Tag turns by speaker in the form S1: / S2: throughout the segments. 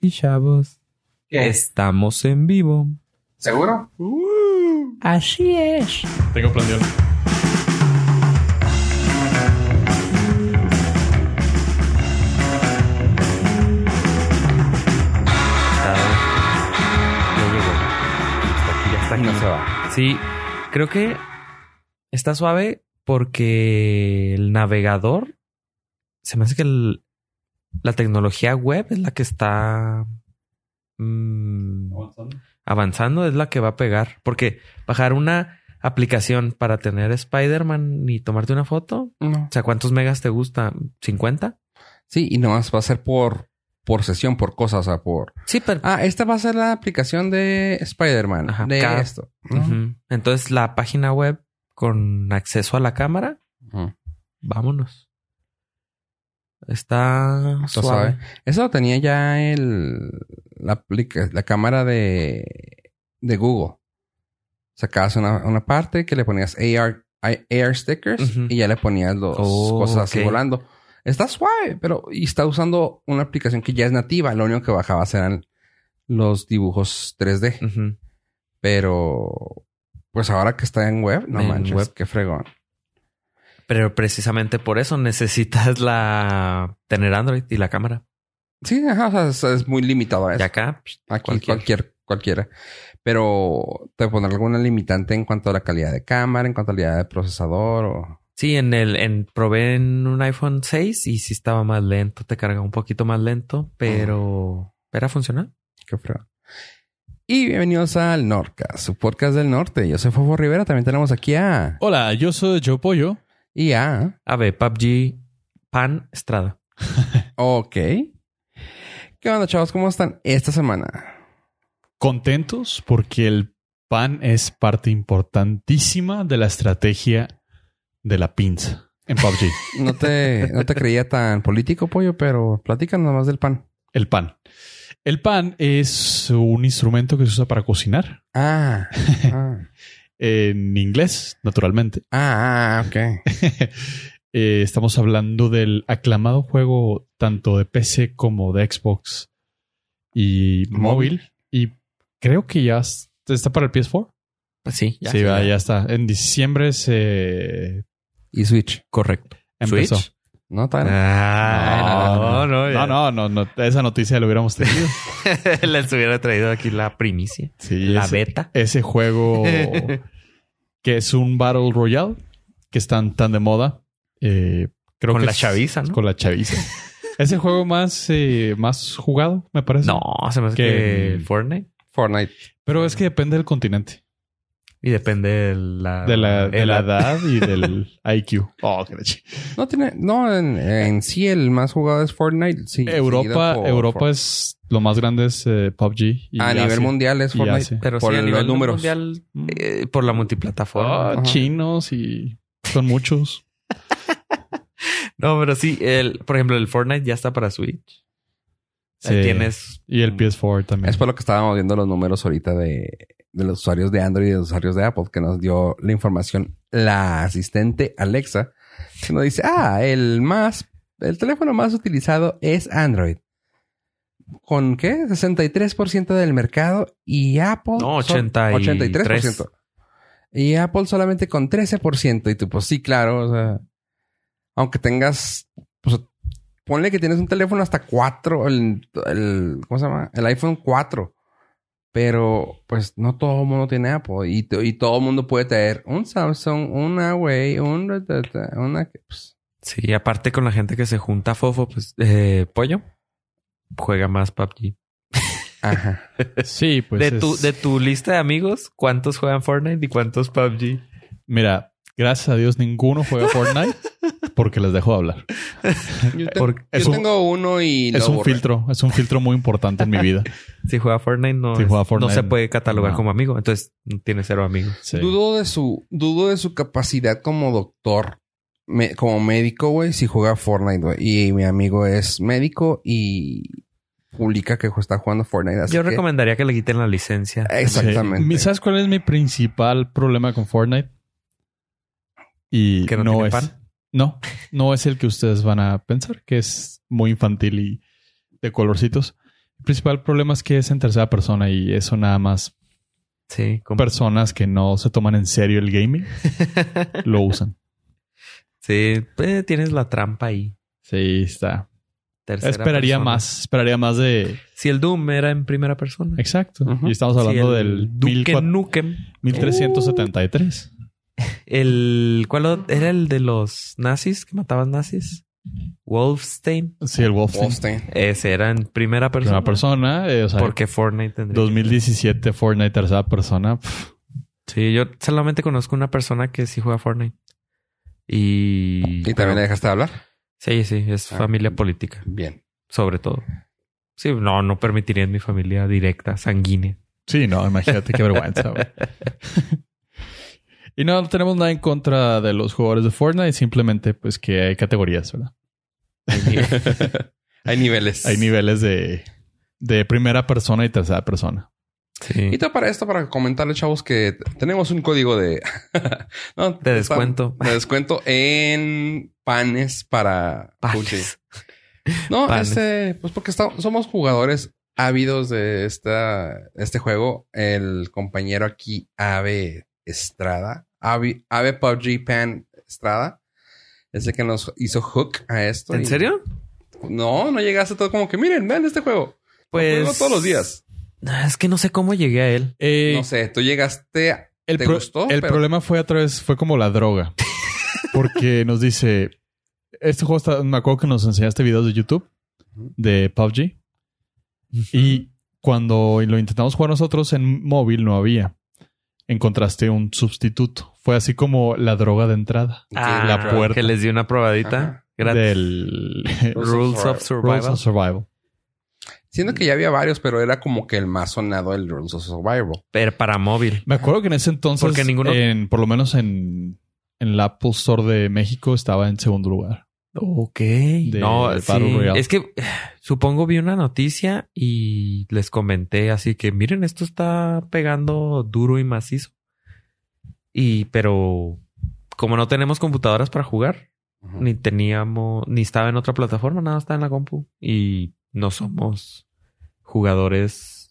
S1: y chavos,
S2: ¿Qué?
S1: estamos en vivo.
S2: ¿Seguro?
S1: Así es.
S3: Tengo planeado.
S4: Ya llegó. Listo, aquí ya está aquí.
S5: No se va.
S4: Sí, creo que está suave porque el navegador se me hace que el- la tecnología web es la que está mm, avanzando, es la que va a pegar. Porque bajar una aplicación para tener Spider-Man y tomarte una foto,
S5: No.
S4: o sea, ¿cuántos megas te gusta? ¿50?
S5: Sí, y nomás va a ser por, por sesión, por cosas, o sea, por...
S4: Sí, pero.
S5: Ah, esta va a ser la aplicación de Spider-Man.
S4: Ajá,
S5: de
S4: cada-
S5: esto. ¿no?
S4: Ujú. Entonces la página web con acceso a la cámara,
S5: Ujú.
S4: vámonos. Está
S5: Está
S4: suave.
S5: suave. Eso lo tenía ya el... La, aplica- la cámara de... De Google. Sacabas una, una parte que le ponías AR, I- AR stickers
S4: Ujú.
S5: y ya le ponías los
S4: Oh,
S5: cosas así
S4: ok.
S5: volando. Está suave, pero... Y está usando una aplicación que ya es nativa. Lo único que bajaba eran los dibujos 3D.
S4: Ujú.
S5: Pero pues ahora que está en web, no
S4: En
S5: manches,
S4: web.
S5: qué fregón.
S4: Pero precisamente por eso necesitas la tener Android y la cámara.
S5: Sí, ajá, o sea, es, es muy limitado a
S4: Y
S5: eso.
S4: acá psh,
S5: Aquí
S4: cualquier.
S5: cualquier, cualquiera. Pero te pondrá alguna limitante en cuanto a la calidad de cámara, en cuanto a la calidad de procesador o
S4: sí, en el en probé en un iPhone 6 y sí estaba más lento, te carga un poquito más lento, pero
S3: Oh.
S4: era funcional.
S5: qué fregón. Y bienvenidos al Norcas, su podcast del norte. Yo soy Fofo Rivera, también tenemos aquí a
S3: Hola, yo soy Joe Pollo.
S5: y a
S4: A ver, PUBG Pan Estrada.
S5: Ok. ¿Qué onda, chavos? ¿Cómo están esta semana?
S3: Contentos porque el pan es parte importantísima de la estrategia de la pinza en PUBG.
S5: No te, no te creía tan político, pollo, pero platícanos más del pan.
S3: El pan. El pan es un instrumento que se usa para cocinar.
S5: Ah, ah.
S3: En inglés, naturalmente.
S5: Ah, ah, ok.
S3: Eh, estamos hablando del aclamado juego tanto de PC como de Xbox y
S5: Móvil.
S3: móvil. Y creo que ya es- está para el PS4.
S4: Pues sí, ya.
S3: sí, va, ya está. En diciembre se
S5: ¿Y Switch?
S4: Correcto.
S3: empezó.
S4: Switch.
S5: No, tal.
S4: Ah, no,
S3: No, No,
S4: ya.
S3: no, no, no, Esa noticia la hubiéramos tenido.
S4: Les hubiera traído aquí la primicia.
S3: Sí,
S4: La
S3: ese,
S4: beta.
S3: ese juego que es un Battle Royale que están tan de moda. eh, creo
S4: Con
S3: que
S4: la
S3: es-
S4: chaviza, ¿no?
S3: Con la chaviza. es el juego más, eh, más jugado, me parece.
S4: No, se me hace
S3: Que-
S4: que Fortnite.
S5: Fortnite.
S3: Pero es que depende del continente.
S4: Y depende de la,
S5: Ah,
S3: De la, de la edad y del IQ. Oh, qué leche.
S5: No tiene. No, en, en sí el más jugado es Fortnite. Sí,
S3: Europa,
S5: seguido por-
S3: Europa
S5: por-
S3: es lo más grande es eh, PUBG. Y
S5: a nivel
S3: Asia.
S5: mundial es
S3: y
S5: Fortnite.
S3: Asia.
S4: Pero
S5: por
S4: sí, a
S5: los
S4: nivel
S5: números.
S4: mundial,
S3: Mm.
S4: eh, por la multiplataforma.
S3: Ah,
S5: Ajá.
S3: chinos y son muchos.
S4: No, pero sí, el, por ejemplo, el Fortnite ya está para Switch. Ahí
S3: Sí.
S4: tienes.
S3: Y el PS4 también.
S5: Mm. Es por lo que estábamos viendo los números ahorita de, de los usuarios de Android y de los usuarios de Apple, que nos dio la información la asistente Alexa, que nos dice: Ah, el más. El teléfono más utilizado es Android. ¿Con qué? 63% del mercado y Apple.
S4: No,
S5: so-
S4: 83%.
S5: 83%. Y Apple solamente con 13%. Y tú, pues sí, claro. O sea, aunque tengas. Pues, ponle que tienes un teléfono hasta 4. El, el- ¿Cómo se llama? El iPhone 4. Pero, pues, no todo el mundo tiene Apple. Y, to- y todo el mundo puede tener un Samsung, un Huawei, un... Una, pues,
S4: Sí, aparte con la gente que se junta fofo, pues eh, pollo juega más PUBG.
S5: ajá.
S3: Sí, pues.
S4: de,
S3: es-
S4: tu, de tu lista de amigos, ¿cuántos juegan Fortnite y cuántos PUBG?
S3: Mira, gracias a Dios ninguno juega Fortnite porque les dejo de hablar.
S5: Yo, te-
S4: Porque
S5: yo
S3: Eh, es un-
S5: tengo uno y
S3: es
S5: lo
S3: un
S5: borré.
S3: filtro, es un filtro muy importante en mi vida.
S4: Si juega Fortnite, no,
S3: Si
S4: es-
S3: juega
S4: no
S3: Fortnite,
S4: se puede catalogar
S3: no.
S4: como amigo. Entonces, no tiene cero amigos.
S3: Sí.
S5: Dudo de su, dudo de su capacidad como doctor, me- como médico, güey, si juega Fortnite, güey. Y mi amigo es médico y publica que está jugando Fortnite. así
S4: Yo
S5: que-
S4: recomendaría que le quiten la licencia.
S5: Exactamente.
S3: Sí. Mi- ¿Sabes cuál es mi principal problema con Fortnite? Y
S4: ¿Que no
S3: no,
S4: tiene
S3: es.
S4: pan?
S3: No, no es el que ustedes van a pensar, que es muy infantil y de colorcitos. El principal problema es que es en tercera persona y eso nada más
S4: Sí, como-
S3: personas que no se toman en serio el gaming lo usan.
S4: sí, eh, tienes la trampa ahí.
S3: Sí, está.
S4: Tercera
S3: esperaría
S4: persona.
S3: más, esperaría más de...
S4: Si el Doom era en primera persona.
S3: Exacto.
S5: Ujú.
S3: Y estamos
S4: Si
S3: hablando
S4: el
S3: del
S4: Duke
S3: 1400
S4: Nukem.
S3: 1373.
S4: El, ¿Cuál era el de los nazis que mataban nazis? Wolfstein.
S3: Sí, el Wolfenstein.
S5: Wolfenstein.
S4: Ese era en primera persona.
S3: Primera persona, eh, o sea,
S4: Porque Fortnite tendría.
S3: 2017 Fortnite tercera persona. pf,
S4: Sí, yo solamente conozco una persona que sí juega Fortnite. Y.
S5: ¿Y también la dejaste de hablar?
S4: Sí, sí, es
S5: Ah.
S4: familia política,
S5: Bien.
S4: sobre todo. Sí, no, no permitiría en mi familia directa, sanguínea.
S3: Sí, no, imagínate qué vergüenza. güey. y no tenemos nada en contra de los jugadores de Fortnite, simplemente pues que hay categorías, ¿verdad?
S5: Hay niveles.
S3: Hay niveles de, de primera persona y tercera persona.
S5: Y
S4: Sí.
S5: todo para esto, para comentarle, chavos, que t- tenemos un código de... No,
S4: De
S5: está-
S4: descuento.
S5: De descuento en panes para... Fuchi.
S4: Panes.
S5: No,
S4: Panes.
S5: este, pues porque esta- somos jugadores ávidos de esta, este juego. El compañero aquí, Ave Estrada, Ave, Ave PUBG Pan Estrada, es el que nos hizo hook a esto.
S4: ¿En
S5: y-
S4: serio?
S5: No, no llegaste todo como que miren, vean este juego. Lo juego
S4: Pues.
S5: todos los días.
S4: Es que no sé cómo llegué a él.
S3: Eh,
S5: No sé, tú llegaste. a-
S3: el
S5: ¿te
S3: pro-
S5: gustó?
S3: el
S5: Pero-
S3: problema fue a través, fue como la droga. Porque nos dice, este juego está, me acuerdo que nos enseñaste videos de YouTube de PUBG. Y cuando lo intentamos jugar nosotros en móvil no había. Encontraste un sustituto. Fue así como la droga de entrada.
S4: Ah,
S3: la puerta.
S4: Que les di una probadita.
S5: Ajá.
S4: Gratis.
S3: Del
S5: Rules
S4: Rules
S5: of
S4: of
S3: Rules
S4: Survival.
S3: of Survival.
S5: Siento que ya había varios, pero era como que el más sonado el Rules of Survival.
S4: Pero para móvil.
S3: Me acuerdo que en ese entonces,
S4: Porque ninguno-
S3: en- por lo menos en, en la Apple Store de México, estaba en segundo lugar.
S4: Ok.
S3: de
S4: no,
S3: Battle
S4: sí.
S3: Royale.
S4: Es que eh, supongo vi una noticia y les comenté así que miren, esto está pegando duro y macizo. Y pero como no tenemos computadoras para jugar, ni teníamos, ni estaba en otra plataforma, nada está en la compu. Y no somos jugadores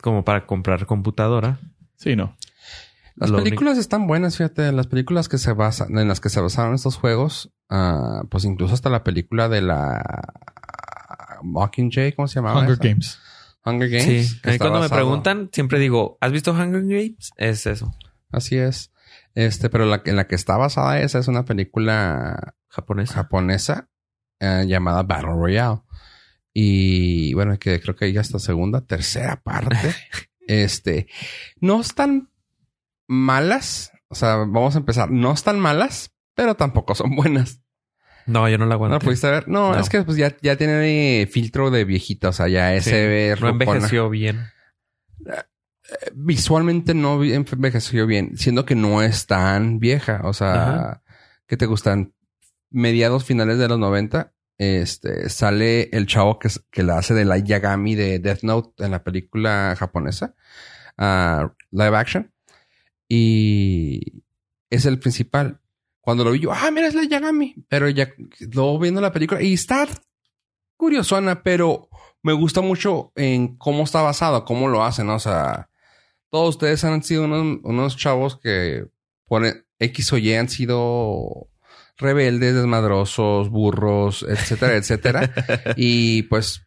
S4: como para comprar computadora.
S3: Sí, no.
S5: Las
S4: Lo
S5: películas están buenas, fíjate. Las películas que se basan, en las que se basaron estos juegos, ah, pues incluso hasta la película de la Mockingjay, ¿cómo se llamaba?
S3: Hunger
S5: Ah, esa?
S3: Games.
S5: Hunger Games.
S4: sí.
S5: que
S4: A mí
S5: está
S4: cuando me
S5: basado-
S4: preguntan, siempre digo, ¿has visto Hunger Games? Es eso,
S5: Así es. Este, pero la, que- en la que está basada esa es una película
S4: japonés.
S5: japonesa eh, llamada Battle Royale. Y bueno, que creo que ya hasta segunda, tercera parte. este, no están malas. O sea, vamos a empezar. No están malas, pero tampoco son buenas.
S4: No, yo no la
S5: ¿No
S4: aguanté.
S5: la pudiste ver? No,
S4: No.
S5: es que pues ya, ya tiene filtro de viejita. O sea, ya
S4: Sí,
S5: se ve
S4: no
S5: rocona.
S4: envejeció bien.
S5: Eh, Visualmente no vi- envejeció bien, siendo que no es tan vieja. O sea,
S4: Ajá.
S5: que te gustan mediados finales de los 90. Este sale el chavo que, es- que la hace de la Yagami de Death Note en la película japonesa, ah, live action. Y es el principal. Cuando lo vi yo, ah, mira, es la Yagami. Pero ya luego viendo la película y está curiosona, pero me gusta mucho en cómo está basado, cómo lo hacen. ¿no? O sea, todos ustedes han sido unos, unos chavos que por X o Y han sido rebeldes, desmadrosos, burros, etcétera, etcétera. y pues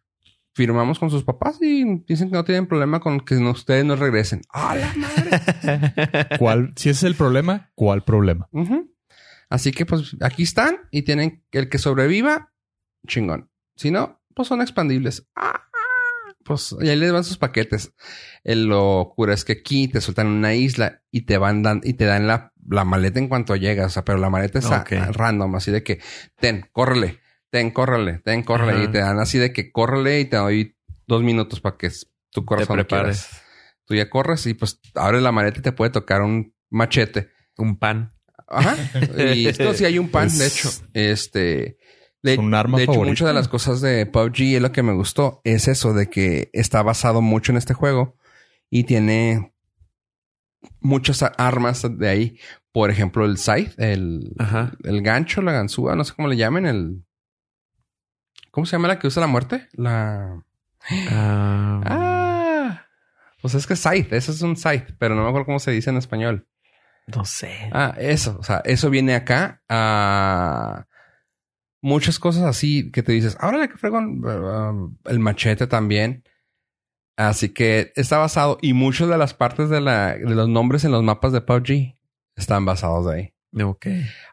S5: firmamos con sus papás y dicen que no tienen problema con que no- ustedes nos regresen. ¡A la madre!
S3: ¿Cuál, si ese es el problema, ¿cuál problema?
S5: Ujú. Así que pues aquí están y tienen el que sobreviva, chingón. Si no, pues son expandibles. Ah, pues y ahí les van sus paquetes. El locura es que aquí te sueltan en una isla y te van dan, y te dan la, la maleta en cuanto llegas. O sea, pero la maleta está
S4: Ok.
S5: random, así de que ten, córrele, ten, córrele, ten, córrele.
S4: Ajá.
S5: Y te dan así de que córrele y te doy dos minutos para que s- tu
S4: Te
S5: corazón
S4: prepares
S5: Tú ya corres y pues abres la maleta y te puede tocar un machete.
S4: un pan.
S5: Ajá. Y esto sí hay un pan,
S3: Es-
S5: de hecho. Este. De,
S3: es un arma
S5: de hecho,
S3: favorita.
S5: muchas de las cosas de PUBG es lo que me gustó. Es eso de que está basado mucho en este juego y tiene muchas a- armas de ahí. Por ejemplo, el scythe, el,
S4: Ajá.
S5: el gancho, la ganzúa, no sé cómo le llamen, el. ¿Cómo se llama la que usa la muerte? La.
S4: Ah,
S5: Ah. Pues es que scythe, eso es un scythe, pero no me acuerdo cómo se dice en español.
S4: No sé.
S5: Ah, eso, o sea, eso viene acá a muchas cosas así que te dices, ahora que fregón, um, el machete también. Así que está basado y muchas de las partes de, la, de los nombres en los mapas de PUBG están basados de ahí.
S4: Ok.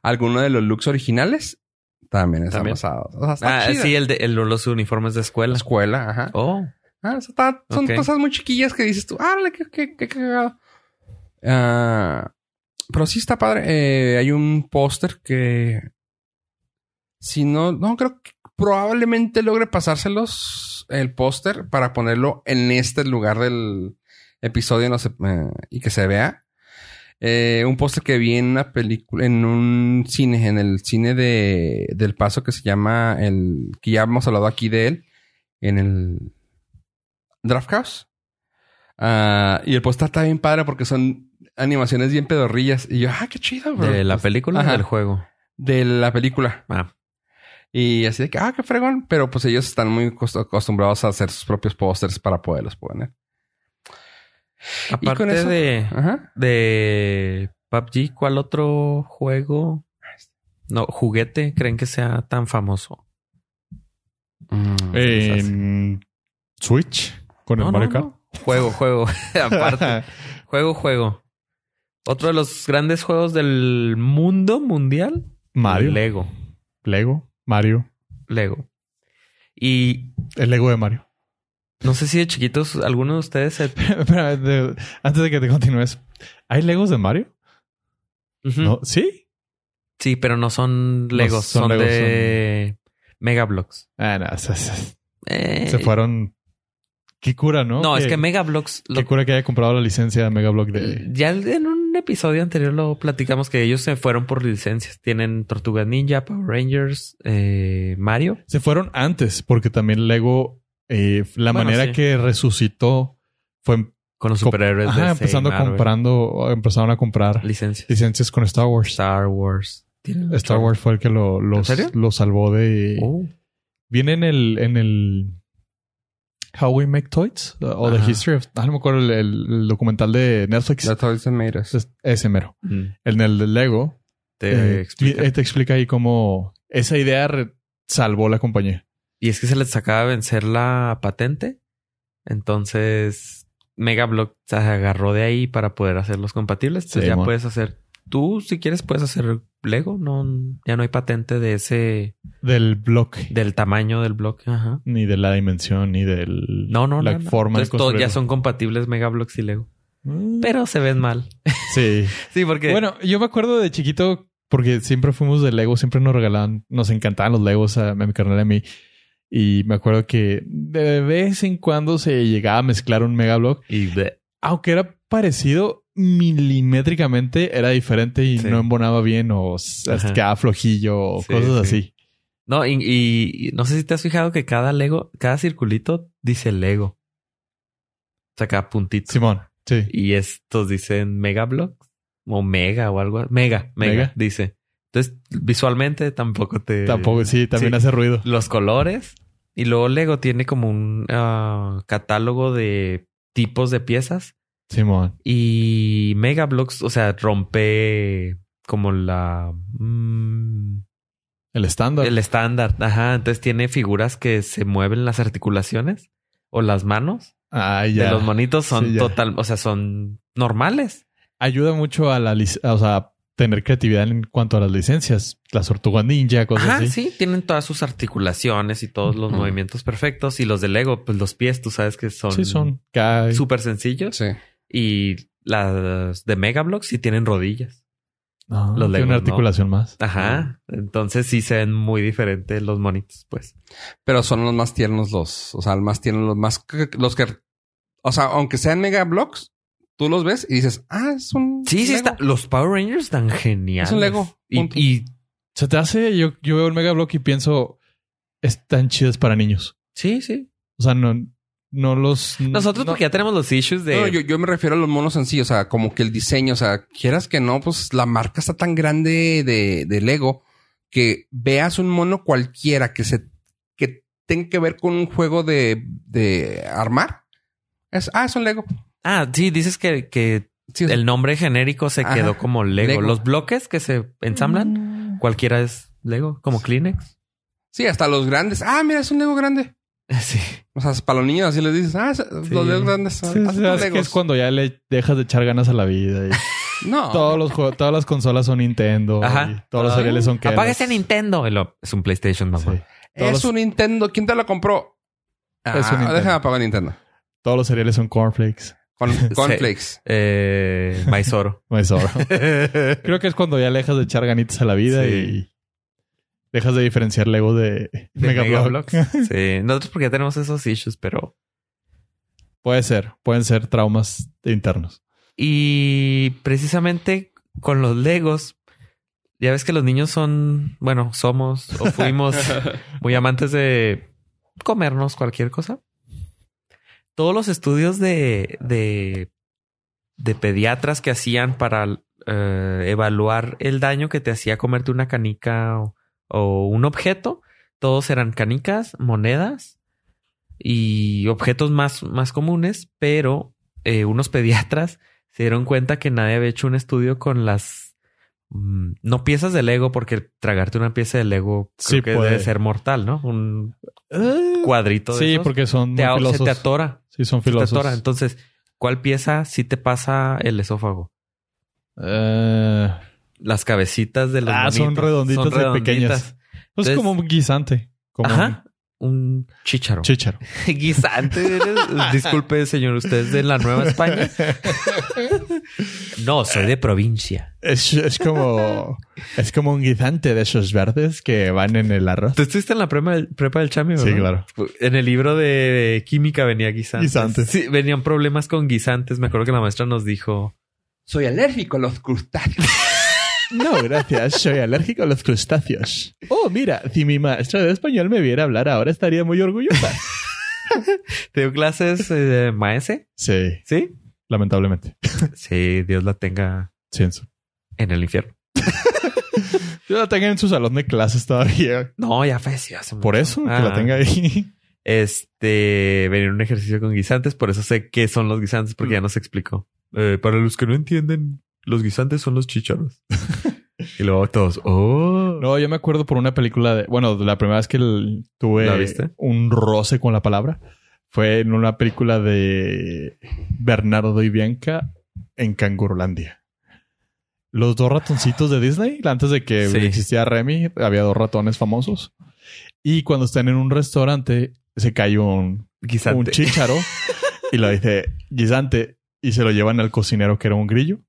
S5: Algunos de los looks originales también están
S4: También.
S5: basados. O sea, está
S4: Ah,
S5: chida.
S4: sí, el de el- los uniformes de
S5: La
S4: escuela.
S5: escuela, ajá.
S4: Oh,
S5: Ah, eso está- son
S4: Ok.
S5: cosas muy chiquillas que dices tú, ah, qué, qué, qué cagado. Ah, pero sí está padre. Eh, hay un póster que. Si no, no creo que probablemente logre pasárselos el póster para ponerlo en este lugar del episodio no sé, eh, y que se vea. Eh, un póster que vi en una película, en un cine, en el cine de del Paso que se llama el que ya hemos hablado aquí de él en el Draft House. Ah, y el póster está bien padre porque son animaciones bien pedorrillas. Y yo, ah, qué chido, bro.
S4: de la película o
S5: Ajá.
S4: del juego.
S5: De la película.
S4: Ah.
S5: Y así de que, ah, qué fregón. Pero pues ellos están muy cost- acostumbrados a hacer sus propios pósters para poderlos poner.
S4: Aparte
S5: eso- ah.
S4: de,
S5: Ajá.
S4: de PUBG, ¿cuál otro juego? No, juguete, creen que sea tan famoso. Mm,
S3: En Eh, Switch con el
S4: No, no,
S3: Mario Kart.
S4: no. Juego, juego. Aparte, juego, juego. Otro de los grandes juegos del mundo mundial.
S3: Mario.
S4: Lego.
S3: Lego. Mario.
S4: Lego. Y
S3: El Lego de Mario.
S4: no sé si de chiquitos, alguno de ustedes se-
S3: Espera, de- antes de que te continúes. ¿Hay Legos de Mario?
S4: Ujú.
S3: No. ¿Sí?
S4: Sí, pero no son Legos,
S3: son
S4: son,
S3: Legos,
S4: de Mega Bloks.
S3: Ah, no. Se, se-
S4: Eh,
S3: se fueron... Qué cura, ¿no?
S4: No, es
S3: Que-
S4: que Mega Bloks lo- Eh.
S3: Qué cura que haya comprado la licencia de Mega Block de...
S4: Ya en un episodio anterior lo platicamos que ellos se fueron por licencias. Tienen Tortugas Ninja, Power Rangers, eh, Mario.
S3: Se fueron antes porque también Lego... eh, la
S4: Bueno,
S3: manera
S4: sí.
S3: que resucitó fue em-
S4: Con los
S3: Com-
S4: superhéroes
S3: Ajá,
S4: de
S3: empezando comprando, empezaron a comprar
S4: licencias.
S3: licencias con Star Wars.
S4: Star Wars. Tienen
S3: Star Wars fue el que lo, los-
S4: ¿En serio?
S3: lo salvó de.
S4: Oh,
S3: Viene en el, en el How We Make Toys uh, o
S4: Ajá.
S3: The History of. ah, no me acuerdo el, el- el documental de Netflix.
S5: That's all it made us.
S3: Es- ese mero.
S4: mm.
S3: El del de Lego.
S4: Te
S3: eh,
S4: explica.
S3: eh, te explica ahí cómo esa idea re- salvó la compañía.
S4: Y es que se les acaba de vencer la patente. Entonces, Megablock se agarró de ahí para poder hacerlos compatibles. Entonces,
S3: Sí,
S4: ya
S3: mon.
S4: puedes hacer. Tú, si quieres, puedes hacer Lego. No, ya no hay patente de ese.
S3: Del bloque.
S4: del tamaño del bloque. Ajá.
S3: Ni de la dimensión, ni del.
S4: No, no,
S3: la
S4: no, no.
S3: forma de
S4: Entonces, todos ya
S3: construirlo.
S4: son compatibles Megablocks y Lego.
S3: Mm,
S4: Pero se ven mal.
S3: Sí.
S4: Sí, porque.
S3: Bueno, yo me acuerdo de chiquito porque siempre fuimos de Lego, siempre nos regalaban, nos encantaban los Legos a, a mi carnal y a mí. Y me acuerdo que de vez en cuando se llegaba a mezclar un Mega Block,
S4: Y de-
S3: aunque era parecido milimétricamente, era diferente y
S4: Sí.
S3: no embonaba bien o se
S4: Ajá.
S3: quedaba flojillo o
S4: Sí,
S3: cosas así.
S4: No, y, y- y no sé si te has fijado que cada Lego, cada circulito dice Lego. O sea, cada puntito.
S3: Simón, sí.
S4: Y estos dicen Megablocks o Mega o algo. Mega, Mega,
S3: Mega.
S4: dice. Entonces, visualmente tampoco te.
S3: Tampoco, sí, también
S4: eh, sí.
S3: hace ruido.
S4: Los colores. Y luego Lego tiene como un ah, catálogo de tipos de piezas.
S3: Simón.
S4: Y Megablocks, o sea, rompe como la. mm,
S3: El estándar.
S4: el estándar. Ajá. Entonces tiene figuras que se mueven las articulaciones o las manos
S3: Ah, ya.
S4: de los monitos. Son
S3: Sí, ya.
S4: total. O sea, son normales.
S3: Ayuda mucho a la lic- a, o sea, tener creatividad en cuanto a las licencias. Las tortugas ninja, cosas
S4: Ajá.
S3: así.
S4: Sí. Tienen todas sus articulaciones y todos los
S5: Ujú.
S4: movimientos perfectos. Y los de Lego, pues los pies, tú sabes que son.
S3: Sí, son. Cae.
S4: Súper sencillos.
S5: Sí.
S4: Y las de Megablocks sí tienen rodillas.
S3: Ah,
S4: Los
S3: tiene
S4: Legos,
S3: una
S4: ¿no?
S3: articulación más.
S5: Ah.
S4: Ajá. Entonces sí se ven muy diferentes los monitos, pues.
S5: Pero son los más tiernos los, o sea, los más tiernos los más que- los que o sea, aunque sean mega blocks, tú los ves y dices, "Ah, es un
S4: Sí, sí
S5: Lego".
S4: está. Los Power Rangers dan genial.
S5: Es un Lego,
S4: Y,
S5: punto.
S4: y-
S3: Se te hace, yo, yo veo el Mega Block y pienso, están chidas para niños.
S4: sí, sí.
S3: O sea, no, no los.
S4: Nosotros
S3: no-
S4: porque ya tenemos los issues de
S5: No, yo, yo me refiero a los monos en sí, o sea, como que el diseño, o sea, quieras que no, pues la marca está tan grande de, de Lego que veas un mono cualquiera que se que tenga que ver con un juego de, de armar. Es, ah, es un Lego.
S4: Ah, sí, dices que, que
S5: Sí, es-
S4: el nombre genérico se
S5: Ajá.
S4: quedó como Lego.
S5: Lego. Mm.
S4: Los bloques que se ensamblan, cualquiera es Lego, como Kleenex.
S5: sí, hasta los grandes. Ah, mira, es un Lego grande.
S4: Sí.
S5: O sea, para los niños así les dices, ah, es- los Legos grandes.
S3: Sí,
S5: son-
S3: sí,
S5: haz tus
S3: es que
S5: Legos.
S3: es cuando ya le dejas de echar ganas a la vida. y
S5: No.
S3: todos los juegos, todas las consolas son Nintendo. y
S4: Ajá.
S3: todos los cereales son Kellogg's.
S4: Apaga ese Nintendo. Y lo- Es un PlayStation, mamá.
S3: Sí.
S5: Es
S3: Todos-
S5: un Nintendo. ¿Quién te lo compró? Ah,
S3: un Nintendo.
S5: Déjame apagar Nintendo.
S3: Todos los cereales son cornflakes.
S5: Con, Flakes.
S4: Eh, Maizoro.
S3: No es oro. Creo que es cuando ya le dejas de echar ganitas a la vida
S4: Sí.
S3: y dejas de diferenciar Lego de,
S4: De
S3: Megablock.
S4: Megablock. Sí. Nosotros porque ya tenemos esos issues, pero...
S3: Puede ser, pueden ser traumas internos.
S4: Y precisamente con los Legos, ya ves que los niños son, bueno, somos o fuimos muy amantes de comernos cualquier cosa. Todos los estudios de, de, de pediatras que hacían para eh, evaluar el daño que te hacía comerte una canica o, o un objeto, todos eran canicas, monedas y objetos más, más comunes, pero eh, unos pediatras se dieron cuenta que nadie había hecho un estudio con las mm, no piezas de Lego porque tragarte una pieza de Lego creo
S3: Sí
S4: que
S3: puede.
S4: debe ser mortal, ¿no? Un cuadrito de
S3: sí,
S4: esos,
S3: porque son
S4: te,
S3: muy
S4: a- se
S3: filosos.
S4: te atora,
S3: Sí, son
S4: se te
S3: filosos.
S4: atora. Entonces, ¿cuál pieza sí te pasa el esófago?
S3: Eh,
S4: Las cabecitas de los
S3: Ah, son
S4: monitos.
S3: redonditas y pequeñas. pues
S4: Entonces-
S3: como un guisante. Como
S4: Ajá. Un chícharo.
S3: un chícharo.
S4: Guisante. eres. Disculpe, señor, usted es de la Nueva España. no, soy de provincia.
S3: Es, es como es como un guisante de esos verdes que van en el arroz.
S4: ¿Tú estuviste en la prepa, prepa del Chami,
S3: Sí,
S4: verdad?
S3: claro.
S4: En el libro de química venía guisantes.
S3: Guisantes.
S4: Sí, venían problemas con guisantes. Me acuerdo que la maestra nos dijo.
S5: Soy alérgico a los crustáceos.
S3: No, gracias. Soy alérgico a los crustáceos. Oh, mira, si mi maestra de español me viera hablar ahora estaría muy orgullosa.
S4: ¿Te dio clases eh, de maese?
S3: Sí,
S4: ¿Sí?
S3: lamentablemente.
S4: Sí, Dios la tenga
S3: Sí, en su-
S4: en el infierno.
S3: Yo la tengo en su salón de clases todavía.
S4: No, ya fue, sí, hace
S3: Por
S4: mucho.
S3: eso, que la
S4: Ah,
S3: tenga ahí.
S4: Este, venía un ejercicio con guisantes, por eso sé qué son los guisantes, porque ya nos explicó. Eh, para los que no entienden, los guisantes son los chícharos. y luego todos, oh.
S3: No, yo me acuerdo por una película de. Bueno, la primera vez que el- tuve
S4: ¿La viste?
S3: un roce con la palabra fue en una película de Bernardo y Bianca en Cangurulandia. Los dos ratoncitos de Disney, antes de que
S4: Sí.
S3: existiera Remy, había dos ratones famosos. Y cuando están en un restaurante, se cae un,
S4: guisante.
S3: un chícharo y lo dice guisante y se lo llevan al cocinero que era un grillo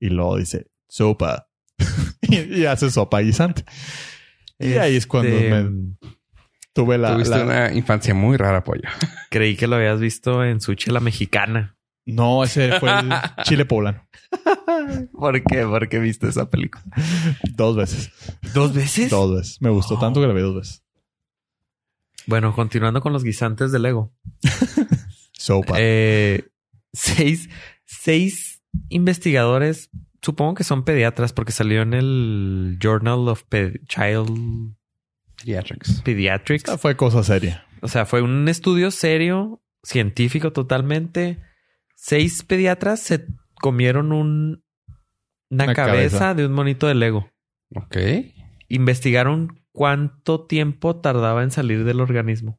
S3: y luego dice sopa y, y hace sopa guisante. Y ahí es cuando
S4: Este,
S3: me- tuve la...
S5: Tuviste
S3: la-
S5: una infancia muy rara, pollo.
S4: Creí que lo habías visto en Sushi la Mexicana.
S3: No, ese fue el chile poblano.
S4: ¿Por qué? ¿Por qué viste esa película?
S3: Dos veces.
S4: ¿Dos veces?
S3: Dos veces. Me gustó
S4: Oh.
S3: tanto que la vi dos veces.
S4: Bueno, continuando con los guisantes de Lego.
S3: Sopa.
S4: Eh, seis, seis investigadores, supongo que son pediatras porque salió en el Journal of Pe- Child
S5: Theatrics.
S4: Pediatrics.
S3: Esa fue cosa seria.
S4: O sea, fue un estudio serio, científico totalmente. Seis pediatras se comieron un, una,
S3: Una cabeza.
S4: cabeza, de un monito de Lego.
S5: Ok.
S4: Investigaron cuánto tiempo tardaba en salir del organismo.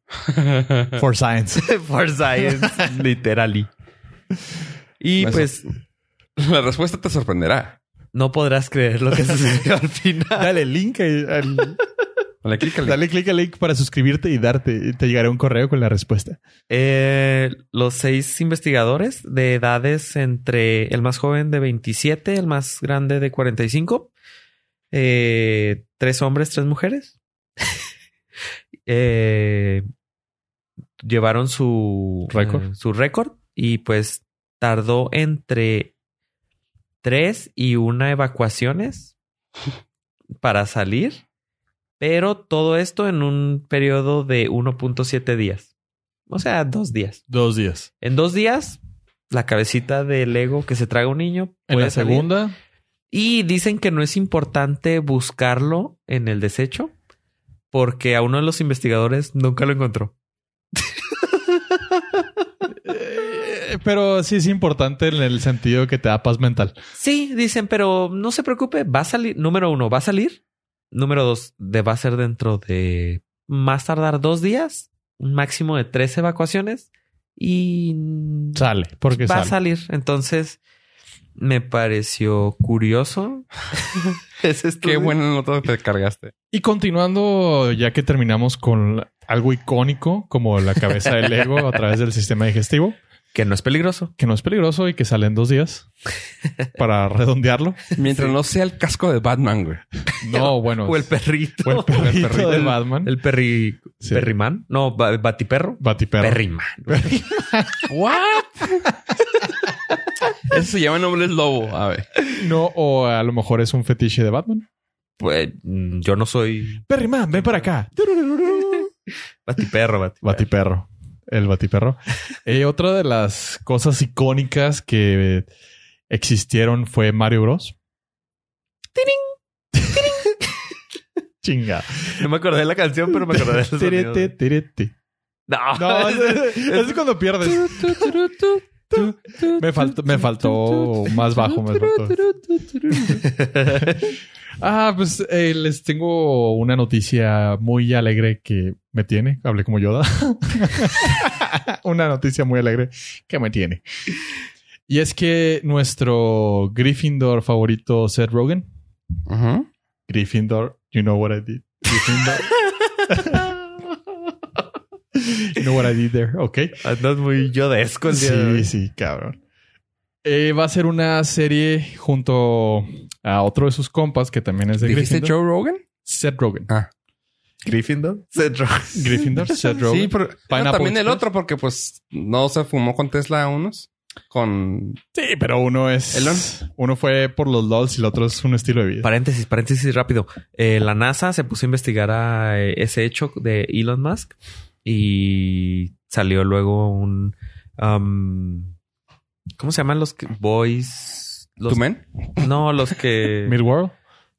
S3: For science.
S4: For science, literally. Y
S5: Me
S4: pues
S5: La respuesta te sorprenderá.
S4: no podrás creer lo que sucedió al final.
S3: Dale link. ahí al-
S5: Le clic al link.
S3: dale click al link para suscribirte y darte. y Te llegará un correo con la respuesta.
S4: Eh, los seis investigadores de edades entre el más joven de 27, el más grande de 45, eh, tres hombres, tres mujeres, eh, llevaron su
S3: Récord.
S4: eh, su récord y pues tardó entre tres y una evacuaciones para salir, pero todo esto en un periodo de 1.7 días. O sea, dos días.
S3: Dos días.
S4: En dos días, la cabecita del ego que se traga un niño.
S3: En
S4: puede
S3: la
S4: salir.
S3: segunda...
S4: Y dicen que no es importante buscarlo en el desecho porque a uno de los investigadores nunca lo encontró.
S3: Eh, Pero sí es importante en el sentido que te da paz mental.
S4: Sí, dicen, pero no se preocupe, va a salir. Número uno, va a salir. Número dos, de, va a ser dentro de más tardar dos días, un máximo de tres evacuaciones y
S3: Sale, porque
S4: va a
S3: sale.
S4: salir. Entonces, me pareció curioso. Ese
S5: Qué
S4: estudio.
S5: buena nota te cargaste.
S3: Y continuando, ya que terminamos con la- algo icónico como la cabeza del ego a través del sistema digestivo,
S4: Que no es peligroso.
S3: que no es peligroso y que sale en dos días, para redondearlo.
S5: Mientras no sea el casco de Batman, güey.
S3: No, bueno.
S4: O el perrito.
S3: o el perrito,
S4: El perrito
S3: de
S4: del-
S3: Batman.
S4: El perri...
S3: Sí.
S4: perrimán. No, ba- batiperro.
S3: Batiperro.
S4: Perrimán.
S5: ¿What? Eso se llama nombre lobo. A ver.
S3: No, o a lo mejor es un fetiche de Batman.
S4: Pues mm, yo no soy
S3: Perryman, ven para acá.
S4: batiperro, batiperro.
S3: Batiperro. El batiperro. Eh, otra de las cosas icónicas que existieron fue Mario Bros. Chinga.
S4: No me acordé de la canción, pero me acordé de los sonidos. Ah,
S3: Tirete, tirete.
S4: No,
S3: No, es, es-
S4: es-
S3: es cuando pierdes. Me faltó, me faltó más bajo. me faltó. Ah, pues eh, les tengo una noticia muy alegre que me tiene. Hablé como Yoda. una noticia muy alegre que me tiene. Y es que nuestro Gryffindor favorito, Seth Rogen.
S5: Ujú.
S3: Gryffindor, you know what I did. Gryffindor. you know what I did there. Ok.
S4: Andas muy yodesco el día de
S3: Sí,
S4: hoy.
S3: sí, cabrón. Eh, va a ser una serie junto a otro de sus compas que también es de
S5: ¿Dijiste
S3: Gryffindor.
S5: Joe Rogan?
S3: Seth Rogen.
S5: Ah.
S4: Gryffindor. Seth Rogen.
S3: Gryffindor, Seth Rogen.
S5: Sí, pero
S3: Pineapple
S5: no, también el
S3: Express.
S5: otro, porque pues no se fumó con Tesla a unos. Con.
S3: Sí, pero uno es.
S5: Elon.
S3: Uno fue por los LOLs y el otro es un estilo de vida.
S4: Paréntesis, paréntesis rápido. Eh, la NASA se puso a investigar a eh, ese hecho de Elon Musk y salió luego un... um, ¿Cómo se llaman los que... Boys... Los,
S5: ¿Tu men?
S4: no, los que...
S3: Midworld,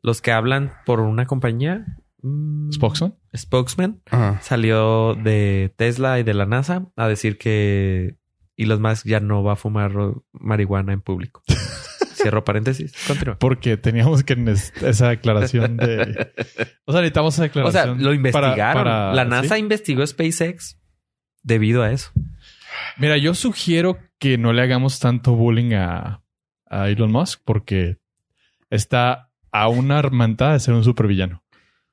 S4: los que hablan por una compañía. Mm,
S3: Spoxon.
S4: Spokesman. salió de Tesla y de la NASA a decir que Elon Musk ya no va a fumar ro- marihuana en público. Cierro paréntesis. Continúa.
S3: Porque teníamos que nes- esa declaración de. O sea, necesitamos esa
S4: O sea,
S3: declaración.
S4: lo
S3: para-
S4: investigaron.
S3: para-
S4: la NASA
S3: ¿sí?
S4: investigó SpaceX debido a eso.
S3: Mira, yo sugiero que no le hagamos tanto bullying a, a Elon Musk porque está a una armantada de ser un supervillano.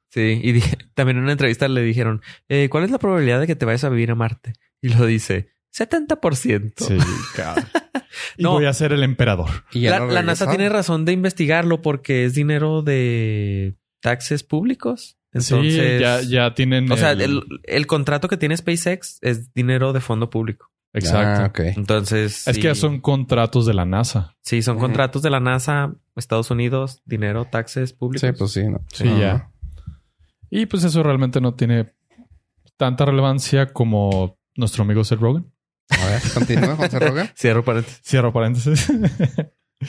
S4: Sí. Y di- también en una entrevista le dijeron, eh, ¿cuál es la probabilidad de que te vayas a vivir a Marte? Y lo dice, 70%.
S3: Sí, cabrón. y
S4: No.
S3: voy a ser el emperador.
S5: Y ya
S4: La,
S5: no
S4: la NASA
S5: regresaron.
S4: tiene razón de investigarlo porque es dinero de taxes públicos. Entonces,
S3: sí, ya, ya tienen.
S4: O sea,
S3: el-
S4: el, el contrato que tiene SpaceX es dinero de fondo público.
S3: Exacto.
S5: Ah, ok.
S4: Entonces.
S3: Es
S4: Ah, sí-
S3: que son contratos de la NASA.
S4: Sí, son
S5: Ujú.
S4: contratos de la NASA, Estados Unidos, dinero, taxes públicos.
S5: Sí, pues sí, no.
S3: Sí, ya. Y pues eso realmente no tiene tanta relevancia como nuestro amigo Seth Rogen.
S5: A ver, continúa, José Rogan.
S4: Cierro paréntesis.
S3: Cierro paréntesis.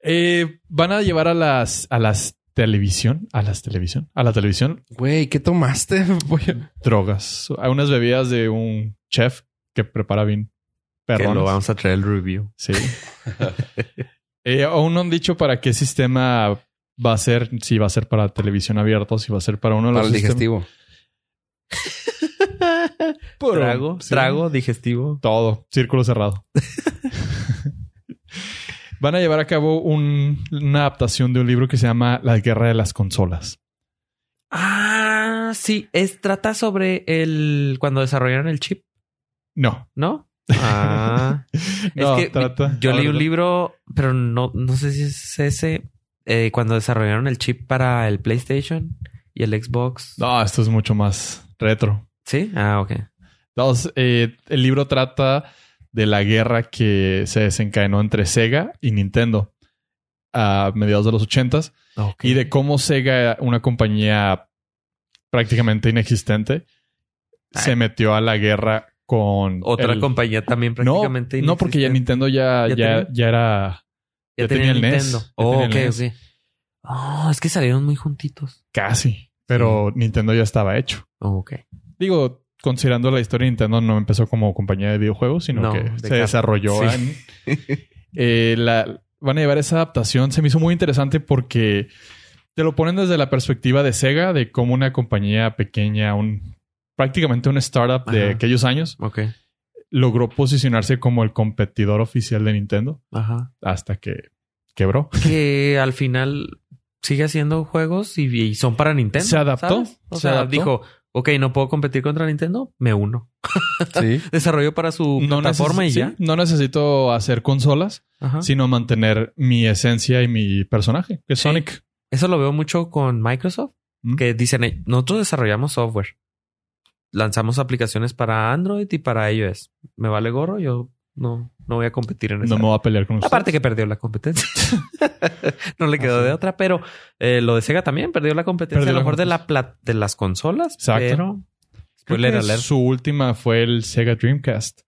S3: Eh, van a llevar a las, a las televisión, a las televisión, a la televisión,
S5: Güey, ¿qué tomaste? Voy a-
S3: drogas. Hay unas bebidas de un chef que prepara bien.
S4: Que
S3: Perdón.
S4: lo vamos a traer el review.
S3: Sí. Eh, aún no han dicho para qué sistema va a ser, si va a ser para televisión abierta o si va a ser para uno de los
S5: Para el
S3: sistemas.
S5: digestivo.
S3: Pero-
S4: trago,
S3: sí.
S4: trago, digestivo.
S3: Todo, círculo cerrado. Van a llevar a cabo un- una adaptación de un libro que se llama La Guerra de las Consolas.
S4: Ah, sí. Es, trata sobre el. cuando desarrollaron el chip,
S3: No.
S4: ¿no? Ah.
S3: No,
S4: es que
S3: trata-
S4: yo
S3: la
S4: leí un
S3: verdad.
S4: libro, pero no, no sé si es ese. eh, cuando desarrollaron el chip para el PlayStation y el Xbox.
S3: No, esto es mucho más retro.
S4: Sí. Ah, ok.
S3: Dos, eh, el libro trata de la guerra que se desencadenó entre Sega y Nintendo a mediados de los ochentas
S4: Ok.
S3: y de cómo Sega, una compañía prácticamente inexistente, se metió a la guerra con
S4: Ah. Otra
S3: el-
S4: compañía también
S3: No,
S4: prácticamente.
S3: no, porque ya
S4: inexistente.
S3: Nintendo ya,
S4: ¿Ya
S3: ya,
S4: tenía?
S3: ya era ya tenía el NES, ya
S4: Oh,
S3: tenía el E
S4: ok, Ah,
S3: NES.
S4: ok. Oh, es que salieron muy juntitos.
S3: casi. Pero Nintendo ya estaba hecho.
S4: Oh, ok.
S3: Digo, considerando la historia, Nintendo no empezó como compañía de videojuegos, sino
S4: No,
S3: que
S4: de
S3: se
S4: carta.
S3: desarrolló
S4: Sí.
S3: en- Eh, la, van a llevar esa adaptación. Se me hizo muy interesante porque te lo ponen desde la perspectiva de Sega, de cómo una compañía pequeña, un prácticamente un startup de
S4: Ajá.
S3: aquellos años,
S4: Ok.
S3: logró posicionarse como el competidor oficial de Nintendo
S4: Ajá.
S3: hasta que quebró.
S4: Que al final sigue haciendo juegos y, y son para Nintendo.
S3: Se adaptó,
S4: ¿sabes? O
S3: se
S4: sea,
S3: adaptó.
S4: dijo, ok, no puedo competir contra Nintendo, me uno.
S5: Sí.
S4: Desarrollo para su plataforma
S3: necesi-
S4: y
S3: sí,
S4: ya.
S3: no necesito hacer consolas,
S4: Ajá.
S3: sino mantener mi esencia y mi personaje, que es
S4: Sí.
S3: Sonic.
S4: Eso lo veo mucho con Microsoft,
S3: Mm.
S4: que dicen, "Ey, nosotros desarrollamos software. Lanzamos aplicaciones para Android y para iOS. Me vale gorro, yo no, no voy a competir en eso.
S3: No me voy a pelear con usted.
S4: Aparte que perdió la competencia. no le quedó
S3: Pues Así
S4: de
S3: es.
S4: otra, pero eh, lo de Sega también perdió la competencia.
S3: Perdió
S4: a lo
S3: la
S4: mejor de, la pla- de las consolas.
S3: Exacto.
S4: Pero...
S3: Creo
S4: Spoiler
S3: que
S4: alert.
S3: Su última fue el Sega Dreamcast,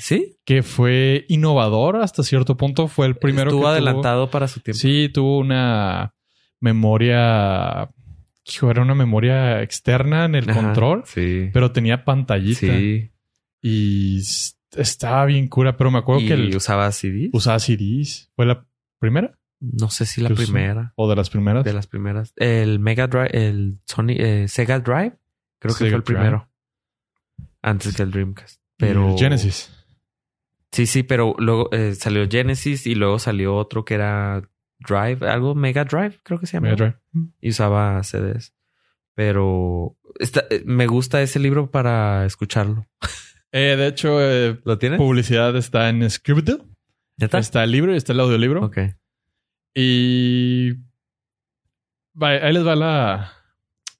S4: Sí,
S3: que fue innovador hasta cierto punto. Fue el primero
S4: estuvo
S3: que tuvo-
S4: adelantado para su tiempo.
S3: sí, tuvo una memoria. hijo, era una memoria externa en el
S4: Ajá.
S3: control,
S4: Sí.
S3: pero tenía pantallita
S4: Sí.
S3: y s- estaba bien cura. Pero me acuerdo
S4: Y
S3: que el-
S4: usaba CD.
S3: usaba CDs. ¿Fue la primera
S4: No sé si la
S3: que usó.
S4: primera.
S3: o de las primeras?
S4: De las primeras. El Mega Drive, el Sony, eh, Sega Drive, creo que
S3: Sega
S4: fue el
S3: Drive.
S4: primero. Antes que el Dreamcast.
S3: Y el
S4: Pero.
S3: Genesis.
S4: Sí, sí, pero luego eh, salió Genesis y luego salió otro que era Drive, algo Mega Drive, creo que se llama.
S3: Mega Drive.
S4: Y usaba CDs. Pero está- eh, me gusta ese libro para escucharlo.
S3: Eh, de hecho, eh,
S4: ¿Lo tienes?
S3: publicidad está en Scribd.
S4: ¿Ya está?
S3: Está el libro y está el audiolibro.
S4: Ok.
S3: Y vaya, ahí les va la,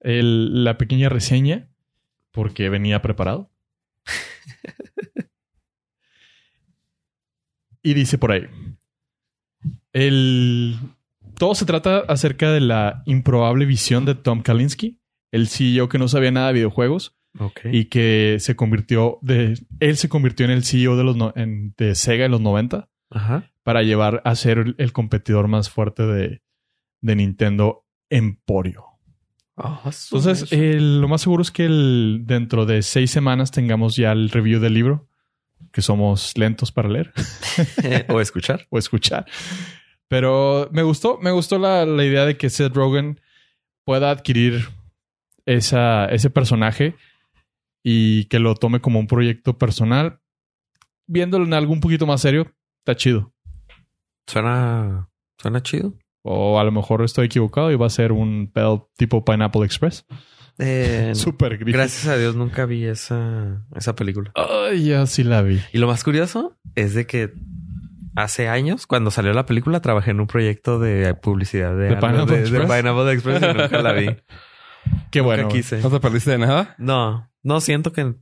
S3: el- la pequeña reseña porque venía preparado. y dice por ahí. El, todo se trata acerca de la improbable visión de Tom Kalinski, el CEO que no sabía nada de videojuegos
S4: Ok.
S3: y que se convirtió de él se convirtió en el CEO de los no- en- de Sega en los 90
S4: Ajá.
S3: para llevar a ser el- el competidor más fuerte de, de Nintendo Emporio. Entonces, el- lo más seguro es que el- dentro de seis semanas tengamos ya el review del libro, que somos lentos para leer eh,
S4: o escuchar.
S3: o escuchar. Pero me gustó, me gustó la, la idea de que Seth Rogen pueda adquirir esa, ese personaje y que lo tome como un proyecto personal. Viéndolo en algo un poquito más serio, está chido.
S4: Suena, suena chido.
S3: O a lo mejor estoy equivocado y va a ser un pedo tipo Pineapple Express.
S4: Eh,
S3: Súper gris.
S4: gracias a Dios nunca vi esa, esa película.
S3: Ay, ya sí la vi.
S4: Y lo más curioso es de que hace años, cuando salió la película, trabajé en un proyecto de publicidad de,
S3: ¿De
S4: algo
S3: Pineapple
S4: de- de
S3: Express?
S4: Pineapple Express y nunca la vi.
S3: Qué bueno.
S4: Nunca quise.
S5: ¿No te perdiste de nada?
S4: No, no siento que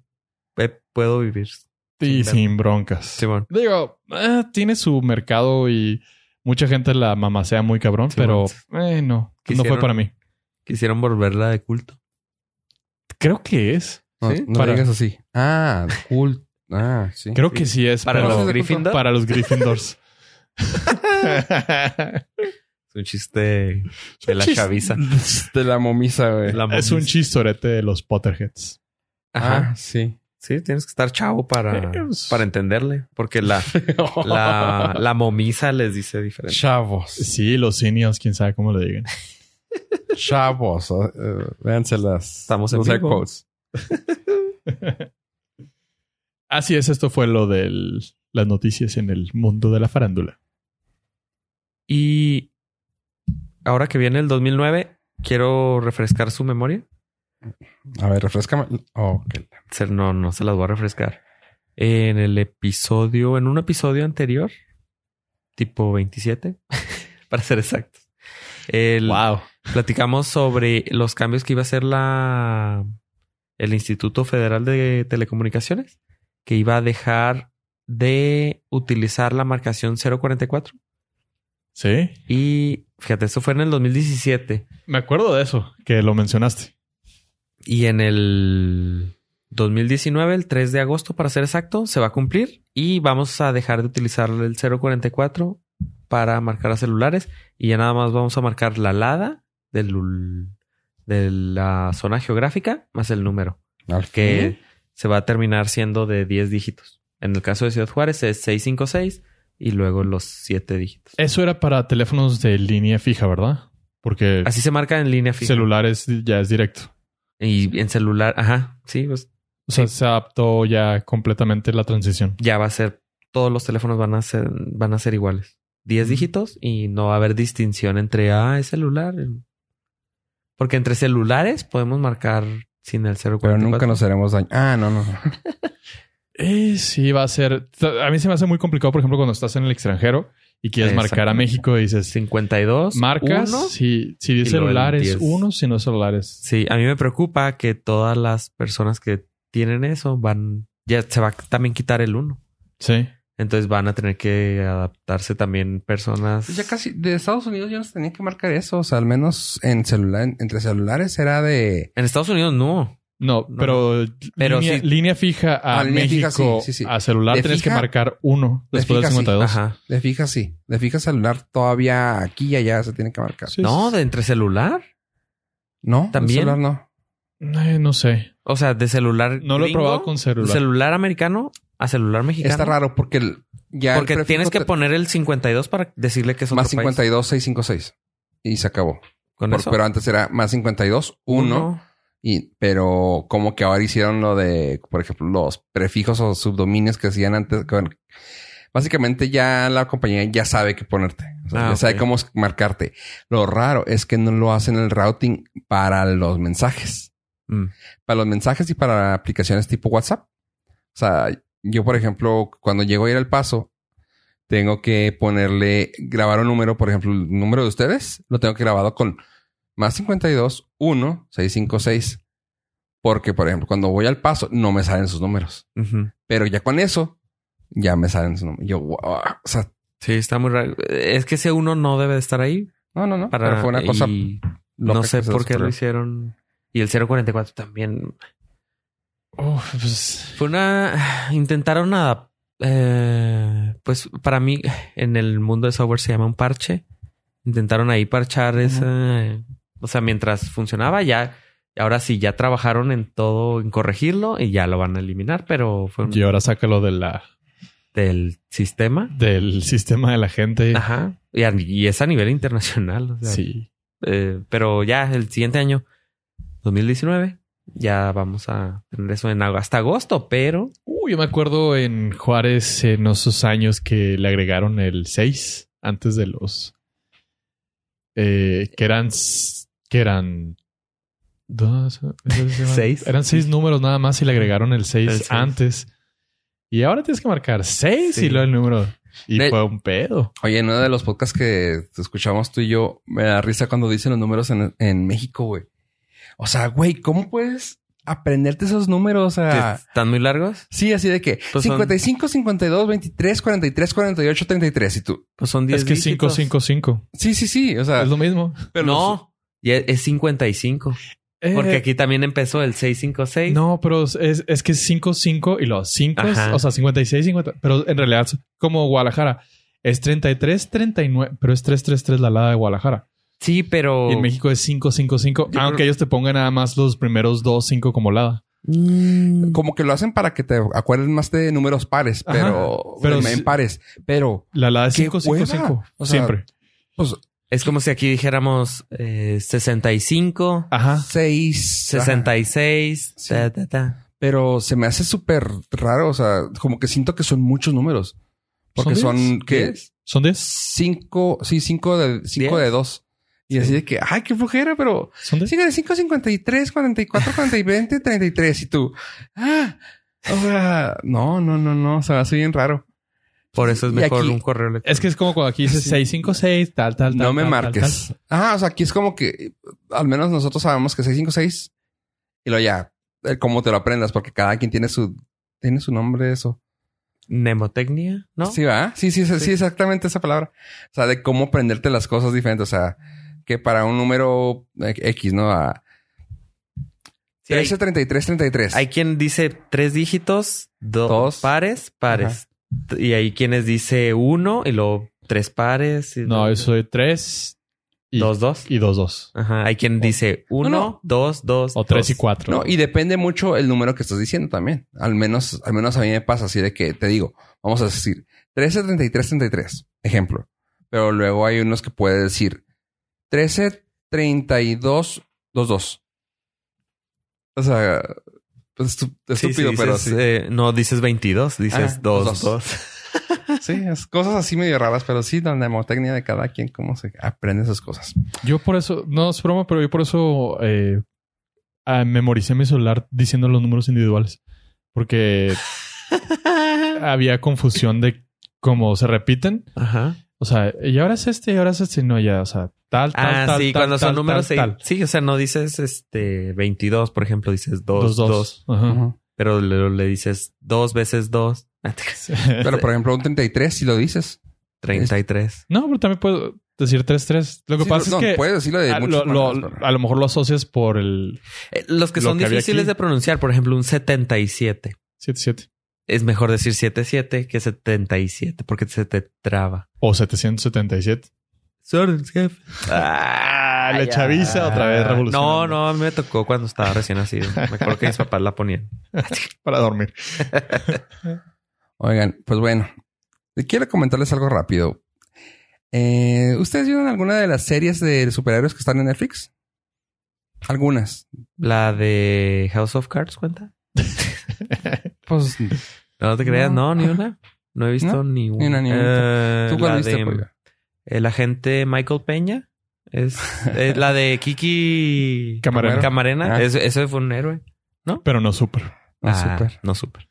S4: eh, puedo vivir.
S3: Y
S4: Sí,
S3: sin broncas.
S4: Simón.
S3: Digo, eh, tiene su mercado y mucha gente la mamasea muy cabrón,
S4: Sí,
S3: pero eh, no. No
S4: Quisieron-
S3: fue para mí.
S4: Quisieron volverla de culto.
S3: Creo que es.
S5: No,
S4: Sí.
S5: no
S3: Para-
S5: digas así. Ah, cool. Ah, sí.
S3: Creo que sí es.
S4: Para
S3: pero-
S4: los
S5: de
S4: Gryffindor.
S3: para los Gryffindors.
S4: Es un chiste de la
S3: Chis-
S4: chaviza.
S5: De la momisa, güey.
S4: La
S3: es un
S4: momis.
S3: chistorete de los Potterheads.
S4: Ajá.
S5: Ah, sí.
S4: Sí, tienes que estar chavo para,
S3: Eh, pues-
S4: para entenderle. Porque la, la, la momisa les dice diferente.
S5: Chavos.
S3: Sí, los seniors, quién sabe cómo lo digan.
S5: Chavos. eh, véanse las.
S4: Estamos en
S5: los air
S4: vivo.
S5: quotes.
S3: Así es, esto fue lo de las noticias en el mundo de la farándula.
S4: Y ahora que viene el 2009, quiero refrescar su memoria.
S5: A ver, refrescame. Oh, ok.
S4: Se- No, no se las voy a refrescar. En el episodio, en un episodio anterior, tipo 27, para ser exactos, el-
S3: wow.
S4: platicamos sobre los cambios que iba a hacer la, el Instituto Federal de Telecomunicaciones, que iba a dejar de utilizar la marcación 044.
S3: Sí.
S4: Y fíjate, eso fue en el 2017.
S3: Me acuerdo de eso, que lo mencionaste.
S4: Y en el 2019, el 3 de agosto, para ser exacto, se va a cumplir y vamos a dejar de utilizar el 044 para marcar a celulares y ya nada más vamos a marcar la LADA del, ul- de la zona geográfica más el número,
S5: Al
S4: que
S5: fin.
S4: se va a terminar siendo de 10 dígitos. En el caso de Ciudad Juárez es 656 y luego los 7 dígitos.
S3: Eso era para teléfonos de línea fija, ¿verdad? Porque
S4: Así se marca en línea fija.
S3: celulares ya es directo.
S4: Y en celular, ajá, sí, pues
S3: O sea,
S4: Sí.
S3: se adaptó ya completamente la transición.
S4: ya va a ser, todos los teléfonos van a ser, van a ser iguales. 10 dígitos y no va a haber distinción entre, ah, es celular. Porque entre celulares podemos marcar sin el 044.
S5: Pero nunca nos haremos daño. Ah, no, no. no.
S3: Eh, sí, va a ser. A mí se me hace muy complicado, por ejemplo, cuando estás en el extranjero y quieres marcar a
S4: Exactamente.
S3: México y dices,
S4: 52.
S3: marcas,
S4: uno.
S3: si, si diez
S4: y luego el
S3: celulares,
S4: 10.
S3: uno, si no celulares.
S4: Sí, a mí me preocupa que todas las personas que tienen eso van, ya se va a también quitar el uno.
S3: Sí.
S4: Entonces van a tener que adaptarse también personas.
S5: Pues
S3: Pues
S5: Ya casi de Estados Unidos yo no tenía que marcar eso. O sea, al menos en celular, entre celulares era de.
S4: En Estados Unidos no.
S3: No,
S4: No.
S3: pero,
S4: Pero
S3: línea,
S4: sí.
S3: línea fija a
S5: Ah, línea fija,
S3: México
S5: sí, sí, sí.
S3: a celular
S5: De
S3: tienes
S5: fija-
S3: que marcar uno
S5: de
S3: después
S5: fija,
S3: del
S5: sí.
S3: 52.
S4: Ajá.
S5: De fija, sí. De fija celular todavía aquí y allá se tiene que marcar.
S3: Sí,
S4: No,
S3: sí.
S4: de entre celular.
S5: No,
S4: También.
S5: el celular no.
S3: Eh, no sé.
S4: O sea, de celular.
S3: No lo he
S4: gringo,
S3: probado con celular.
S4: Celular americano a celular mexicano.
S5: Está raro porque el- ya. el
S4: Porque
S5: prefijo
S4: tienes que
S5: te-
S4: poner el 52 para decirle que es otro
S5: Más
S4: país.
S5: 52, 656. Y se acabó.
S4: Con
S5: Por-
S4: eso,
S5: pero antes era más 52, 1. Y, pero como que ahora hicieron lo de, por ejemplo, los prefijos o subdominios que hacían antes. con- básicamente ya la compañía ya sabe qué ponerte. O sea,
S4: Ah,
S5: ya sabe
S4: ok.
S5: cómo es- marcarte. Lo raro es que no lo hacen el routing para los mensajes.
S4: Mm.
S5: Para los mensajes y para aplicaciones tipo WhatsApp. O sea, yo, por ejemplo, cuando llego a ir al paso, tengo que ponerle, grabar un número, por ejemplo, el número de ustedes, lo tengo que grabado con más 52, 1, 656. Porque, por ejemplo, cuando voy al paso, no me salen sus números.
S4: Mm, Ujú.
S5: Pero ya con eso, ya me salen sus números. Yo, wow, o sea,
S4: Sí, está muy raro. Es que ese uno no debe de estar ahí.
S5: no, no, no.
S4: Para,
S5: pero fue una cosa.
S4: y
S5: loca
S4: no
S5: que
S4: sé
S5: se
S4: por qué
S5: descubrió.
S4: lo hicieron. Y el 044 también.
S3: Uf, pues,
S4: Fue una. Intentaron nada. pues para mí, en el mundo de software se llama un parche. Intentaron ahí parchar esa. O sea, mientras funcionaba, ya. Ahora sí, ya trabajaron en todo, en corregirlo y ya lo van a eliminar, pero fue un-
S3: y ahora sácalo de la,
S4: del sistema.
S3: del sistema de la gente.
S5: Ah,
S4: Ajá. Y, a- y es a nivel internacional. o sea,
S3: Sí.
S4: eh, pero ya el siguiente año, 2019, ya vamos a tener eso en ag- hasta agosto, pero
S3: Uy, Uh, yo me acuerdo en Juárez eh, en esos años que le agregaron el 6 antes de los. eh, que eran. s- que eran. dos-
S4: Seis.
S3: Eran seis números nada más y le agregaron el 6
S4: El seis.
S3: antes. Y ahora tienes que marcar 6
S4: Sí.
S3: y luego el número. Y
S5: De-
S3: fue un pedo.
S5: Oye, en uno de los podcasts que escuchamos tú y yo, me da risa cuando dicen los números en, en México, güey. O sea, güey, ¿cómo puedes aprenderte esos números? O
S3: Ah.
S5: sea,
S4: están muy largos.
S5: sí, así de que
S4: Pues son-
S5: 55, 52, 23, 43, 48, 33. Y tú,
S4: Pues son 10
S3: Es que
S4: dígitos.
S3: 555
S5: sí, sí, sí. O sea,
S3: es lo mismo.
S5: pero los-
S4: no, ya es 55. Porque aquí también empezó el 656.
S3: Eh. No, pero es, es que es 5, 5 y los 5,
S4: Ajá.
S3: o sea, 56, 50. Pero en realidad, es como Guadalajara, es 33, 39, pero es 333 la lada de Guadalajara.
S4: Sí, pero.
S3: Y en México es 5, 5, 5,
S5: Yo
S3: aunque
S5: creo-
S3: ellos te pongan nada más los primeros 2, 5 como lada.
S4: Mm.
S5: como que lo hacen para que te acuerdes más de números pares,
S3: Ajá.
S5: pero,
S3: Pero
S5: de- en
S3: sí-
S5: pares. Pero,
S3: La lada es
S5: ¡Qué
S3: 5, 5,
S5: hueva!
S3: 5.
S5: O sea-
S3: Siempre.
S5: pues,
S4: Es como si aquí dijéramos eh, 65,
S3: Ah, Ajá.
S5: seis.
S4: 66.
S5: Sí.
S4: ta, ta, ta.
S5: Pero se me hace súper raro. O sea, como que siento que son muchos números. Porque
S3: ¿Son
S5: son,
S3: diez?
S5: que
S3: ¿Son 10?
S5: cinco, sí, cinco de cinco
S4: Diez.
S5: de dos. Y
S4: Sí.
S5: así de que, ay, qué flojera, pero
S3: ¿Son 10?
S5: sigue de 5, 53, 44, 40, y 20, 33. Y tú, ah, o sea, no, no, no, no, se me hace bien raro.
S4: Por eso es
S5: Y
S4: mejor
S5: aquí-
S4: un correo electrónico.
S3: Es que es como cuando aquí dices
S5: Sí.
S3: 6, 5, 6, tal, tal, tal.
S5: no me
S3: tal, tal,
S5: marques. Ah, o sea, aquí es como que eh, al menos nosotros sabemos que 656 y lo ya, eh, cómo te lo aprendas, porque cada quien tiene su, tiene su nombre, eso.
S4: Mnemotecnia, ¿no?
S5: Sí, va. Sí, sí, sí,
S4: Sí.
S5: exactamente esa palabra. O sea, de cómo aprenderte las cosas diferentes. O sea, que para un número eh, X, ¿no? A,
S4: Sí, hay-
S5: 13, 33, 33.
S4: Hay quien dice tres dígitos, do-
S5: Dos.
S4: pares, pares. Y hay quienes dice uno y luego tres pares. y-
S3: tal. No, yo soy 3, y
S4: dos, dos.
S3: y dos, dos.
S4: Ajá. Hay quien dice uno,
S5: no.
S4: dos, dos.
S3: O tres
S4: dos.
S3: y cuatro.
S5: No, y depende mucho el número que estás diciendo también. Al menos, al menos a mí me pasa así de que te digo, vamos a decir 133333, ejemplo. Pero luego hay unos que puede decir 133222. O sea, pues, estu-
S4: Sí,
S5: estúpido,
S4: sí,
S5: pero
S4: dices,
S5: sí.
S4: eh, no dices 22, dices
S5: Ah,
S4: dos,
S5: dos,
S4: dos.
S5: Sí, es cosas así medio raras, pero sí, la mnemotecnia de cada quien, cómo se aprende esas cosas.
S3: Yo por eso, no es broma, pero yo por eso eh, ah, memoricé mi celular diciendo los números individuales. Porque había confusión de cómo se repiten.
S4: Ajá.
S3: O sea, y ahora es este, y ahora es este. No, ya, o sea, tal, tal,
S4: Ah,
S3: tal,
S4: sí,
S3: tal,
S4: cuando son
S3: tal,
S4: números.
S3: tal,
S4: sí.
S3: tal.
S4: Sí, o sea, no dices este 22, por ejemplo, dices
S3: Dos,
S4: dos, dos.
S3: dos. Ajá.
S5: Ujú.
S4: pero le, le dices dos veces dos.
S5: Pero por ejemplo, un 33, si lo dices.
S4: 33.
S3: No, pero también puedo decir tres, tres. Lo que
S5: Sí,
S3: pasa
S5: no,
S3: es que
S5: puedes decirlo de
S3: a,
S5: muchas
S3: lo, lo-
S5: maneras, pero-
S3: a lo mejor lo asocias por el
S4: Eh, los que
S3: Lo
S4: son
S3: que había
S4: difíciles
S3: aquí.
S4: de pronunciar, por ejemplo, un 77.
S3: 77
S4: Es mejor decir 77 que 77 porque se te traba.
S3: o 777.
S4: Sorry, jefe.
S3: Ah, la chaviza otra vez
S4: No,
S3: revolucionando.
S4: Ah. no, a mí me tocó cuando estaba recién nacido. Me acuerdo que mis papás la ponían.
S3: Para dormir.
S5: Oigan, pues bueno, quiero comentarles algo rápido. Eh, ¿Ustedes vieron alguna de las series de superhéroes que están en Netflix? Algunas.
S4: La de House of Cards cuenta.
S5: Pues
S4: No te creas,
S5: No.
S4: no, ni una. No he visto ni una.
S5: una, ni una.
S4: Eh,
S5: tú cuál
S4: la
S5: viste,
S4: de-
S5: Pollo?
S4: El agente Michael Peña. Es, es la de Kiki
S3: Camarena.
S4: Camarena.
S5: Ah.
S4: Es- eso fue un héroe.
S3: Pero no súper.
S5: No,
S4: Ah,
S5: súper.
S4: No super.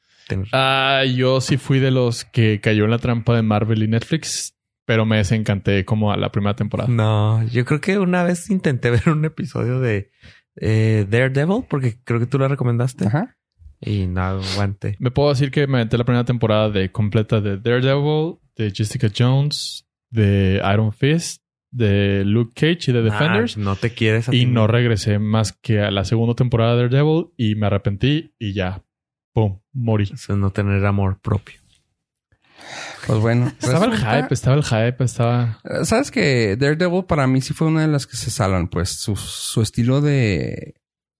S3: Ah, yo sí fui de los que cayó en la trampa de Marvel y Netflix, pero me desencanté como a la primera temporada.
S4: No, yo creo que una vez intenté ver un episodio de eh, Daredevil porque creo que tú la recomendaste
S5: Ajá.
S4: y no aguante.
S3: Me puedo decir que me aventé la primera temporada de completa de Daredevil, de Jessica Jones, de Iron Fist, de Luke Cage y de Defenders.
S4: Ah, no te quieres a
S3: y
S4: ti
S3: Ah, no
S4: mismo.
S3: regresé más que a la segunda temporada de Daredevil y me arrepentí y ya. ¡Pum! Morí.
S4: Eso es no tener amor propio.
S5: Pues bueno.
S3: Estaba el
S5: resulta-
S3: hype, estaba el hype, estaba...
S5: Eh, Sabes que Daredevil para mí sí fue una de las que se salvan, pues su, su estilo de,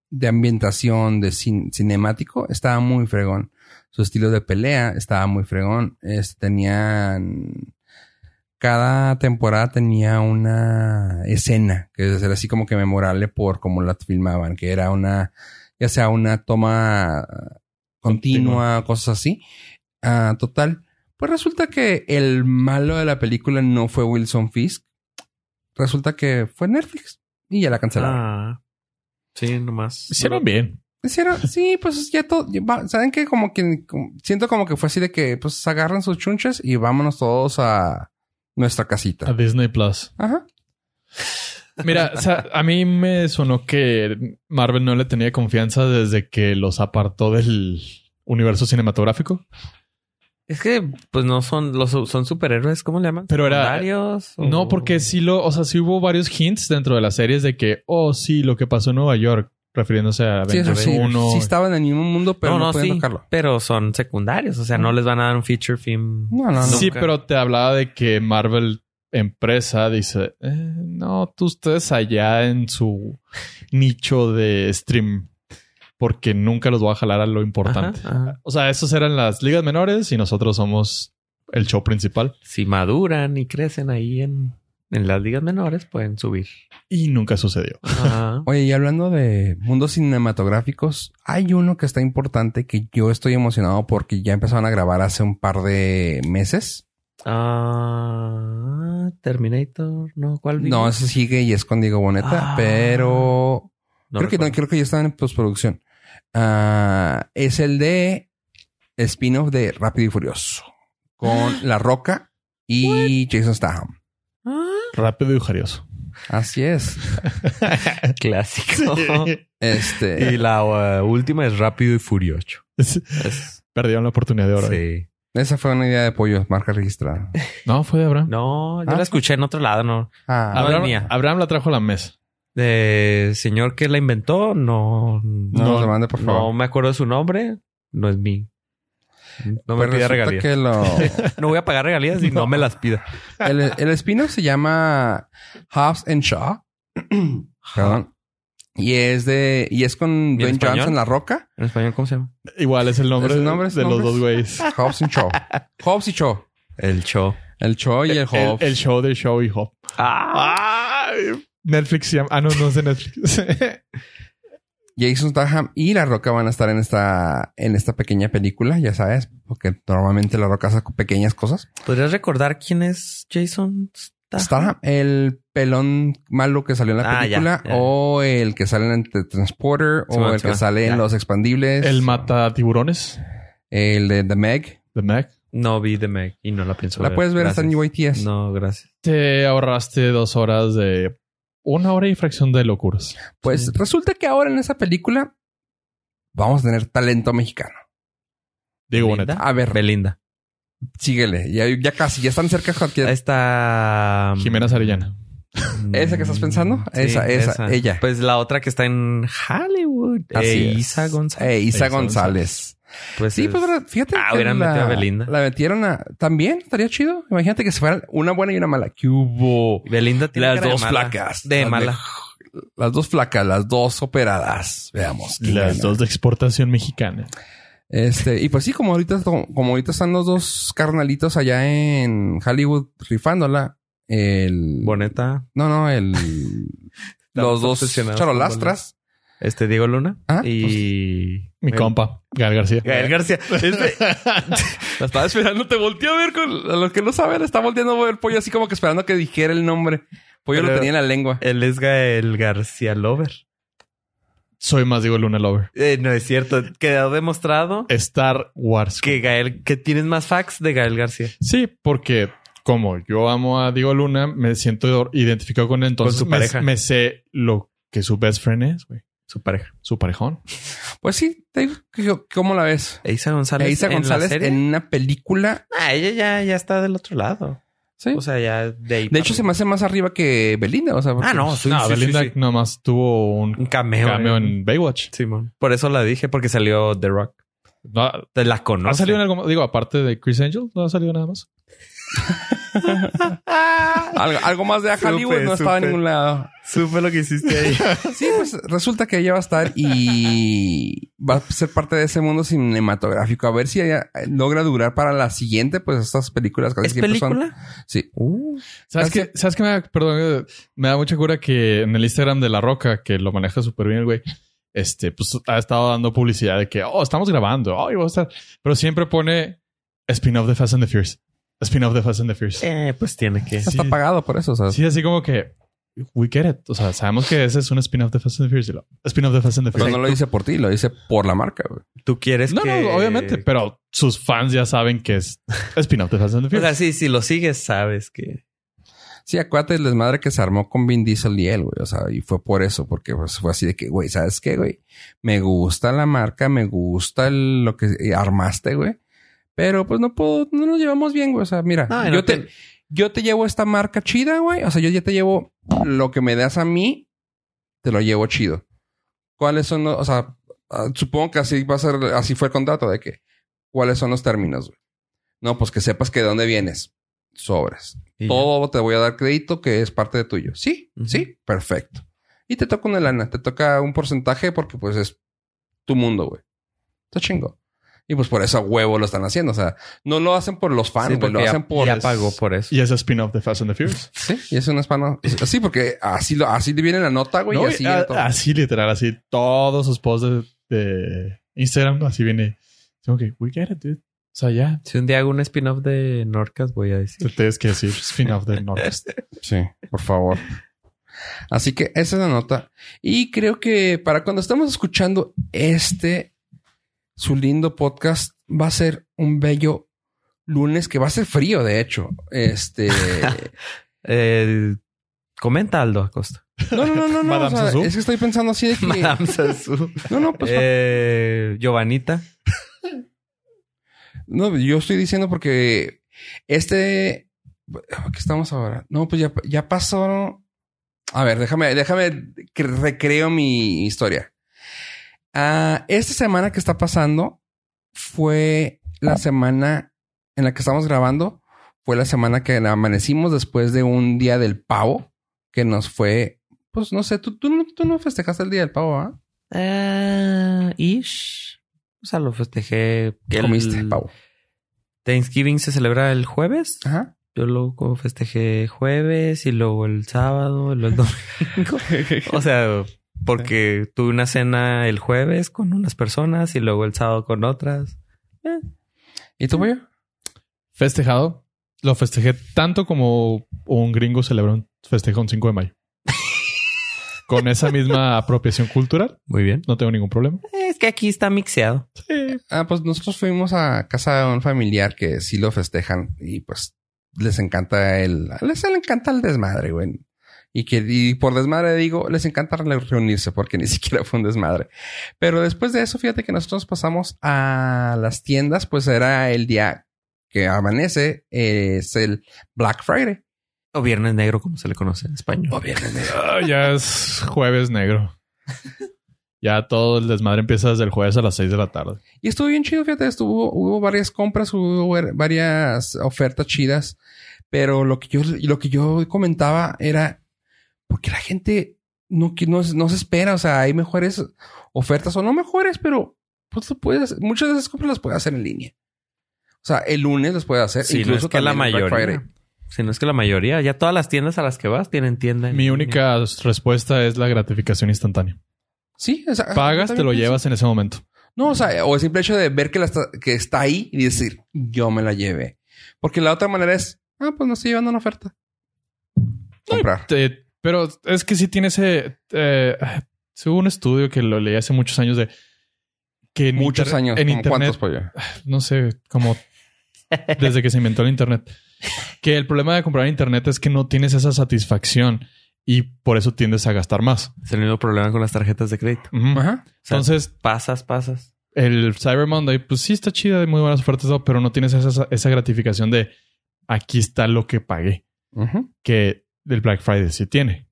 S5: de ambientación, de cin- cinemático, estaba muy fregón. Su estilo de pelea estaba muy fregón. Es- tenían. Cada temporada tenía una escena que era así como que memorable por cómo la filmaban, que era una, ya sea una toma ah, continua, cosas así. Ah, total. Pues resulta que el malo de la película no fue Wilson Fisk. Resulta que fue Netflix. Y ya la cancelaron.
S4: Ah, sí, nomás.
S3: Hicieron bien.
S5: Hicieron- sí, pues ya todo. ya va- ¿Saben qué? Como que como- siento como que fue así de que pues agarran sus chunches y vámonos todos a nuestra
S3: A
S5: casita.
S3: Disney Plus.
S5: Ajá.
S3: Mira, o sea, a mí me sonó que Marvel no le tenía confianza desde que los apartó del universo cinematográfico.
S4: Es que pues no son los son superhéroes, ¿cómo le llaman?
S3: Pero era-
S4: ¿Secundarios o-
S5: Oh.
S3: No, porque sí lo, o sea, sí hubo varios hints dentro de las series de que, oh, sí, lo que pasó en Nueva York, refiriéndose a
S5: Sí, eso
S3: Avengers
S5: sí.
S3: 1.
S5: Sí estaba en el mismo mundo, pero
S4: no,
S5: no,
S4: no,
S5: podían
S4: sí,
S5: tocarlo.
S4: pero son secundarios, o sea,
S3: Ah.
S4: no les van a dar un feature film.
S5: No, no, no.
S3: Sí,
S4: Nunca.
S3: pero te hablaba de que Marvel empresa dice, eh, no, tú ustedes allá en su nicho de stream, porque nunca los voy a jalar a lo importante.
S4: Ajá, ajá.
S3: O sea, esos eran las ligas menores y nosotros somos el show principal
S4: Si maduran y crecen ahí en, en las ligas menores, pueden subir. Ah,
S3: y nunca sucedió.
S4: Ajá.
S5: Oye, y hablando de mundos cinematográficos, hay uno que está importante que yo estoy emocionado porque ya empezaron a grabar hace un par de meses.
S4: Ah, Terminator, no, ¿cuál vi?
S5: No, eso sigue y es con Diego
S4: Ah.
S5: Boneta, pero
S4: No
S5: creo, que, no,
S4: recuerdo.
S5: creo que ya están en postproducción. Ah, es el de spin-off de Rápido y Furioso con La Roca y Jason Statham.
S4: Ah,
S3: Rápido y jarioso.
S5: Así es.
S4: clásico.
S5: Este,
S4: Y la uh, última es Rápido y Furioso. Es-
S3: Perdieron la oportunidad de oro.
S4: sí.
S5: esa fue una idea de pollo, marca registrada.
S3: No, fue de Abraham.
S4: No, yo
S5: Ah.
S4: la escuché en otro lado, no.
S5: Ah,
S4: no es
S3: Abraham,
S4: mía.
S3: Abraham la trajo a la mesa.
S4: El señor que la inventó, no,
S5: no,
S4: no,
S5: nos demande, por
S4: no
S5: favor.
S4: me acuerdo de su nombre. No es mí. No me
S5: Pues
S4: pida
S5: resulta
S4: regalías.
S5: que lo-
S4: No voy a pagar regalías y no, me las pida.
S5: el, el spin-off se llama Hobbs and Shaw. Perdón. Y es de. Y es con
S4: en
S5: Dwayne
S4: español?
S5: Johnson La Roca.
S4: ¿En español cómo se llama?
S3: Igual es el nombre,
S5: ¿Es el nombre? ¿Es
S3: de
S5: el nombre?
S3: los dos güeyes.
S5: Hobbs and Shaw. Hobbs y Shaw.
S4: El show.
S5: El Shaw y el, Hobbs.
S3: el show de Show y Hop.
S4: Ah.
S5: Ah.
S3: Ay, Netflix se llama. Ah, no, no es de Netflix.
S5: Jason Statham y La Roca van a estar en esta, en esta pequeña película, ya sabes, porque normalmente La Roca hace pequeñas cosas.
S4: ¿Podrías recordar quién es Jason Statham?
S5: Statham, el pelón malo que salió en la
S4: Ah,
S5: película,
S4: ya, ya.
S5: o el que sale en The Transporter,
S4: Sí,
S5: o
S4: bueno,
S5: el
S4: sí,
S5: que
S4: bueno,
S5: sale
S4: ya.
S5: en Los Expandibles,
S3: el mata tiburones
S5: el de The Meg.
S3: de Mac.
S4: No vi The Meg y no la pienso
S5: La puedes ver hasta en
S4: Gracias.
S5: UITS.
S4: No, gracias.
S3: Te ahorraste dos horas de una hora y fracción de locuras.
S5: Pues
S4: Sí.
S5: resulta que ahora en esa película vamos a tener talento mexicano.
S3: Digo,
S4: Linda.
S3: neta.
S5: A ver,
S4: Belinda.
S5: síguele. Ya, ya casi, ya están cerca.
S4: Ahí
S5: Javier.
S4: está...
S3: Jimena Sarillana.
S4: um, Mm,
S5: ¿Esa que estás pensando? Esa, esa, ella.
S4: Pues la otra que está en Hollywood.
S5: Así
S4: Eh,
S5: es.
S4: Isa González.
S5: Eh, Isa
S3: Isa
S5: González.
S4: Pues
S5: Sí,
S4: es-
S5: pues ahora, fíjate.
S4: Ah,
S5: que
S4: hubieran metido a Belinda.
S5: La metieron a. También estaría chido. Imagínate que se fueran una buena y una mala. ¿Qué hubo?
S4: Belinda tiene
S5: Las
S4: cara de
S5: dos
S4: mala.
S5: flacas.
S4: De
S5: Las
S4: mala.
S5: Las dos flacas, las dos operadas. Veamos. quién
S3: Las
S5: gana.
S3: dos de exportación mexicana.
S5: Este, y pues sí, como ahorita, como ahorita están los dos carnalitos allá en Hollywood rifándola. El.
S4: Boneta.
S5: No, no, el. los dos
S4: obsesionados
S5: charolastras.
S4: Este Diego Luna.
S5: Ah, pues,
S4: y...
S3: Mi
S4: Gael-
S3: compa, Gal García.
S4: Gael García. Este-
S5: La estaba esperando, te volteó a ver con. A los que no saben, está volteando a ver el pollo así como que esperando que dijera el nombre. Pollo lo
S4: Pero-
S5: tenía en la lengua.
S4: Él es Gael García Lover.
S3: Soy más Diego Luna Lover.
S4: Eh, no es cierto. Quedó demostrado
S3: Star Wars.
S4: que Gael, que tienes más facts de Gael García.
S3: Sí, porque como yo amo a Diego Luna, me siento identificado con él. Entonces
S4: su
S3: me-
S4: pareja.
S3: Me, sé lo que su best friend es, güey.
S4: Su pareja.
S3: Su parejón.
S5: Pues sí, te digo que- ¿cómo la ves?
S4: E Isa González.
S5: E Isa
S4: en la
S5: González en,
S4: serie.
S5: una película.
S4: Ah, ella ya, ya está del otro lado.
S5: Sí.
S4: O sea, ya de ahí.
S5: de hecho, se me hace más arriba que Belinda. O sea, porque- pues,
S4: Ah, no, sí,
S3: no,
S4: sí,
S3: Belinda
S4: sí, sí.
S3: nada más tuvo un
S4: Un cameo.
S3: cameo
S4: eh.
S3: en Baywatch.
S4: Simón. Por eso la dije, porque salió The Rock.
S3: No, ¿Ha
S4: Te
S5: Ah,
S4: la conozco.
S3: salido en algo más? Digo, aparte de Chris Angel, no ha salido nada más.
S5: Algo, algo más de
S4: Supe,
S5: Hollywood no estaba en
S4: supe.
S5: ningún lado.
S4: Ah, Supe lo que hiciste ahí.
S5: Sí, pues resulta que ella va a estar y va a ser parte de ese mundo cinematográfico. A ver si ella eh, logra durar para la siguiente, pues estas películas casi
S4: ¿Es
S5: siempre son-
S4: película?
S5: Sí.
S4: Uh,
S3: ¿Sabes
S5: Hace-
S3: qué? ¿Sabes qué? Me, da- perdón, eh, me da mucha cura que en el Instagram de La Roca, que lo maneja súper bien el güey, este, pues ha estado dando publicidad de que, oh, estamos grabando, oh, y voy a estar. Pero siempre pone spin-off de Fast and the Furious. Spin-off de Fast and the Furious.
S4: eh, pues tiene que.
S5: Está
S3: Sí.
S5: pagado por eso. O sea,
S3: Sí, así como que, we get it. O sea, sabemos que ese es un spin-off de Fast and the Furious. y lo- Spin-off de Fast and the
S5: o sea,
S3: Furious.
S5: no lo dice por ti, lo dice por la marca. güey.
S4: Tú quieres
S3: no,
S4: que.
S3: no, obviamente, pero sus fans ya saben que es spin-off de Fast and the
S4: O
S3: Furious.
S4: sea, sí, si lo sigues, sabes que.
S5: Sí, acuérdate el desmadre que se armó con Vin Diesel y él, güey. O sea, y fue por eso, porque pues, fue así de que, güey, ¿sabes qué, güey? Me gusta la marca, me gusta el- lo que armaste, güey. Pero pues no puedo, no nos llevamos bien, güey. O sea, mira,
S4: No,
S5: yo,
S4: no
S5: te,
S4: te-
S5: yo te llevo esta marca chida, güey. O sea, yo ya te llevo lo que me das a mí, te lo llevo chido. ¿Cuáles son los, o sea, ah, supongo que así va a ser, así fue el contrato de que, ¿cuáles son los términos, güey? No, pues que sepas que de dónde vienes. Sobres.
S4: y
S5: Todo te voy a dar crédito que es parte de tuyo. Sí,
S4: Ujú.
S5: sí, perfecto. Y te toca una lana, te toca un porcentaje porque pues es tu mundo, güey. Está chingo. Y pues por eso a huevo lo están haciendo. O sea, no lo hacen por los
S4: Sí,
S5: fans, güey.
S4: porque
S5: Lo
S4: ya-
S5: hacen por...
S4: Ya pagó por eso.
S3: y es spin-off de Fast and the Furious.
S5: Sí, y es un hispano. Sí, porque así, lo, así le viene la nota, güey. y
S3: No,
S5: Pues así
S3: a-
S5: viene todo.
S3: así literal, así todos sus posts de, de Instagram, así viene. Tengo que, we get it, dude. O sea, ya.
S4: Si un día hago un spin-off de Norcas, voy a decir.
S3: Te tienes que decir spin-off del Norcast.
S5: Sí, por favor. Así que esa es la nota. Y creo que para cuando estamos escuchando este, su lindo podcast, va a ser un bello lunes que va a ser frío, de hecho. Este.
S4: Eh, comenta Aldo Acosta.
S5: No, no, no, no. no o
S3: Madame
S5: sea,
S3: Sassou.
S5: es que estoy pensando así de que.
S4: Madame Sassou.
S5: No, no, pues.
S4: Eh, Giovanita.
S5: No, yo estoy diciendo porque este. ¿Qué estamos ahora? No, pues ya, ya pasó. A ver, déjame, déjame que recreo mi historia. Ah, esta semana que está pasando fue la semana en la que estamos grabando fue la semana que amanecimos después de un día del pavo que nos fue, pues no sé, tú, tú, no- tú no festejaste el día del pavo, ¿ah?
S4: Ah, ish. O sea, lo festejé. que el
S5: Comiste pavo.
S4: Thanksgiving se celebra el jueves.
S5: Ajá.
S4: Yo lo como festejé jueves y luego el sábado, y luego el domingo. o sea, porque tuve una cena el jueves con unas personas y luego el sábado con otras.
S5: ¿Y tú, pollo?
S3: Festejado. Lo festejé tanto como un gringo celebra un festeja un 5 de mayo. Con esa misma apropiación cultural,
S4: Muy bien.
S3: no tengo ningún problema.
S4: Es que aquí está mixeado.
S5: Ah, pues nosotros fuimos a casa de un familiar que sí lo festejan y pues les encanta el, les encanta el desmadre, güey. Y que y por desmadre digo, les encanta re- reunirse porque ni siquiera fue un desmadre. Pero después de eso, fíjate que nosotros pasamos a las tiendas, pues era el día que amanece, eh, es el Black Friday.
S4: O viernes negro, como se le conoce en español.
S3: Ah, ya es jueves negro. Ya todo el desmadre empieza desde el jueves a las 6 de la tarde.
S5: Y estuvo bien chido, fíjate, estuvo, hubo varias compras, hubo ver- varias ofertas chidas, pero lo que yo, lo que yo comentaba era, porque la gente no, qui- no, se- no se espera, o sea, hay mejores ofertas o no mejores, pero pues lo puedes, muchas de esas compras las puedes hacer en línea. O sea, el lunes las puedes hacer,
S4: Si no es que la
S5: también el Black
S4: mayoría.
S5: Friday.
S4: Si no es que la mayoría. Ya todas las tiendas a las que vas tienen tienda. en
S3: Mi
S4: línea.
S3: única respuesta es la gratificación instantánea.
S5: Sí, o sea,
S3: Pagas, te lo
S5: también-
S3: llevas en ese momento.
S5: No, o sea, o el simple hecho de ver que, la está, que está ahí y decir, yo me la llevé. Porque la otra manera es, ah, pues me estoy llevando una oferta. Comprar.
S3: Te- pero es que sí tiene ese. Eh, sí hubo un estudio que lo leí hace muchos años de. Que en
S5: Muchos
S3: inter-
S5: años.
S3: En
S5: ¿Cómo ¿Cuántos,
S3: internet.
S5: pues, pollo?
S3: No sé, como. desde que se inventó el internet. Que el problema de comprar en internet es que no tienes esa satisfacción y por eso tiendes a gastar más.
S4: Es el mismo problema con las tarjetas de crédito.
S3: Ujú.
S5: Ajá.
S4: O sea,
S3: Entonces,
S4: pasas, pasas.
S3: el Cyber Monday, pues sí está chida, hay muy buenas ofertas, y todo, pero no tienes esa, esa gratificación de aquí está lo que pagué,
S5: Ujú.
S3: que el Black Friday sí tiene.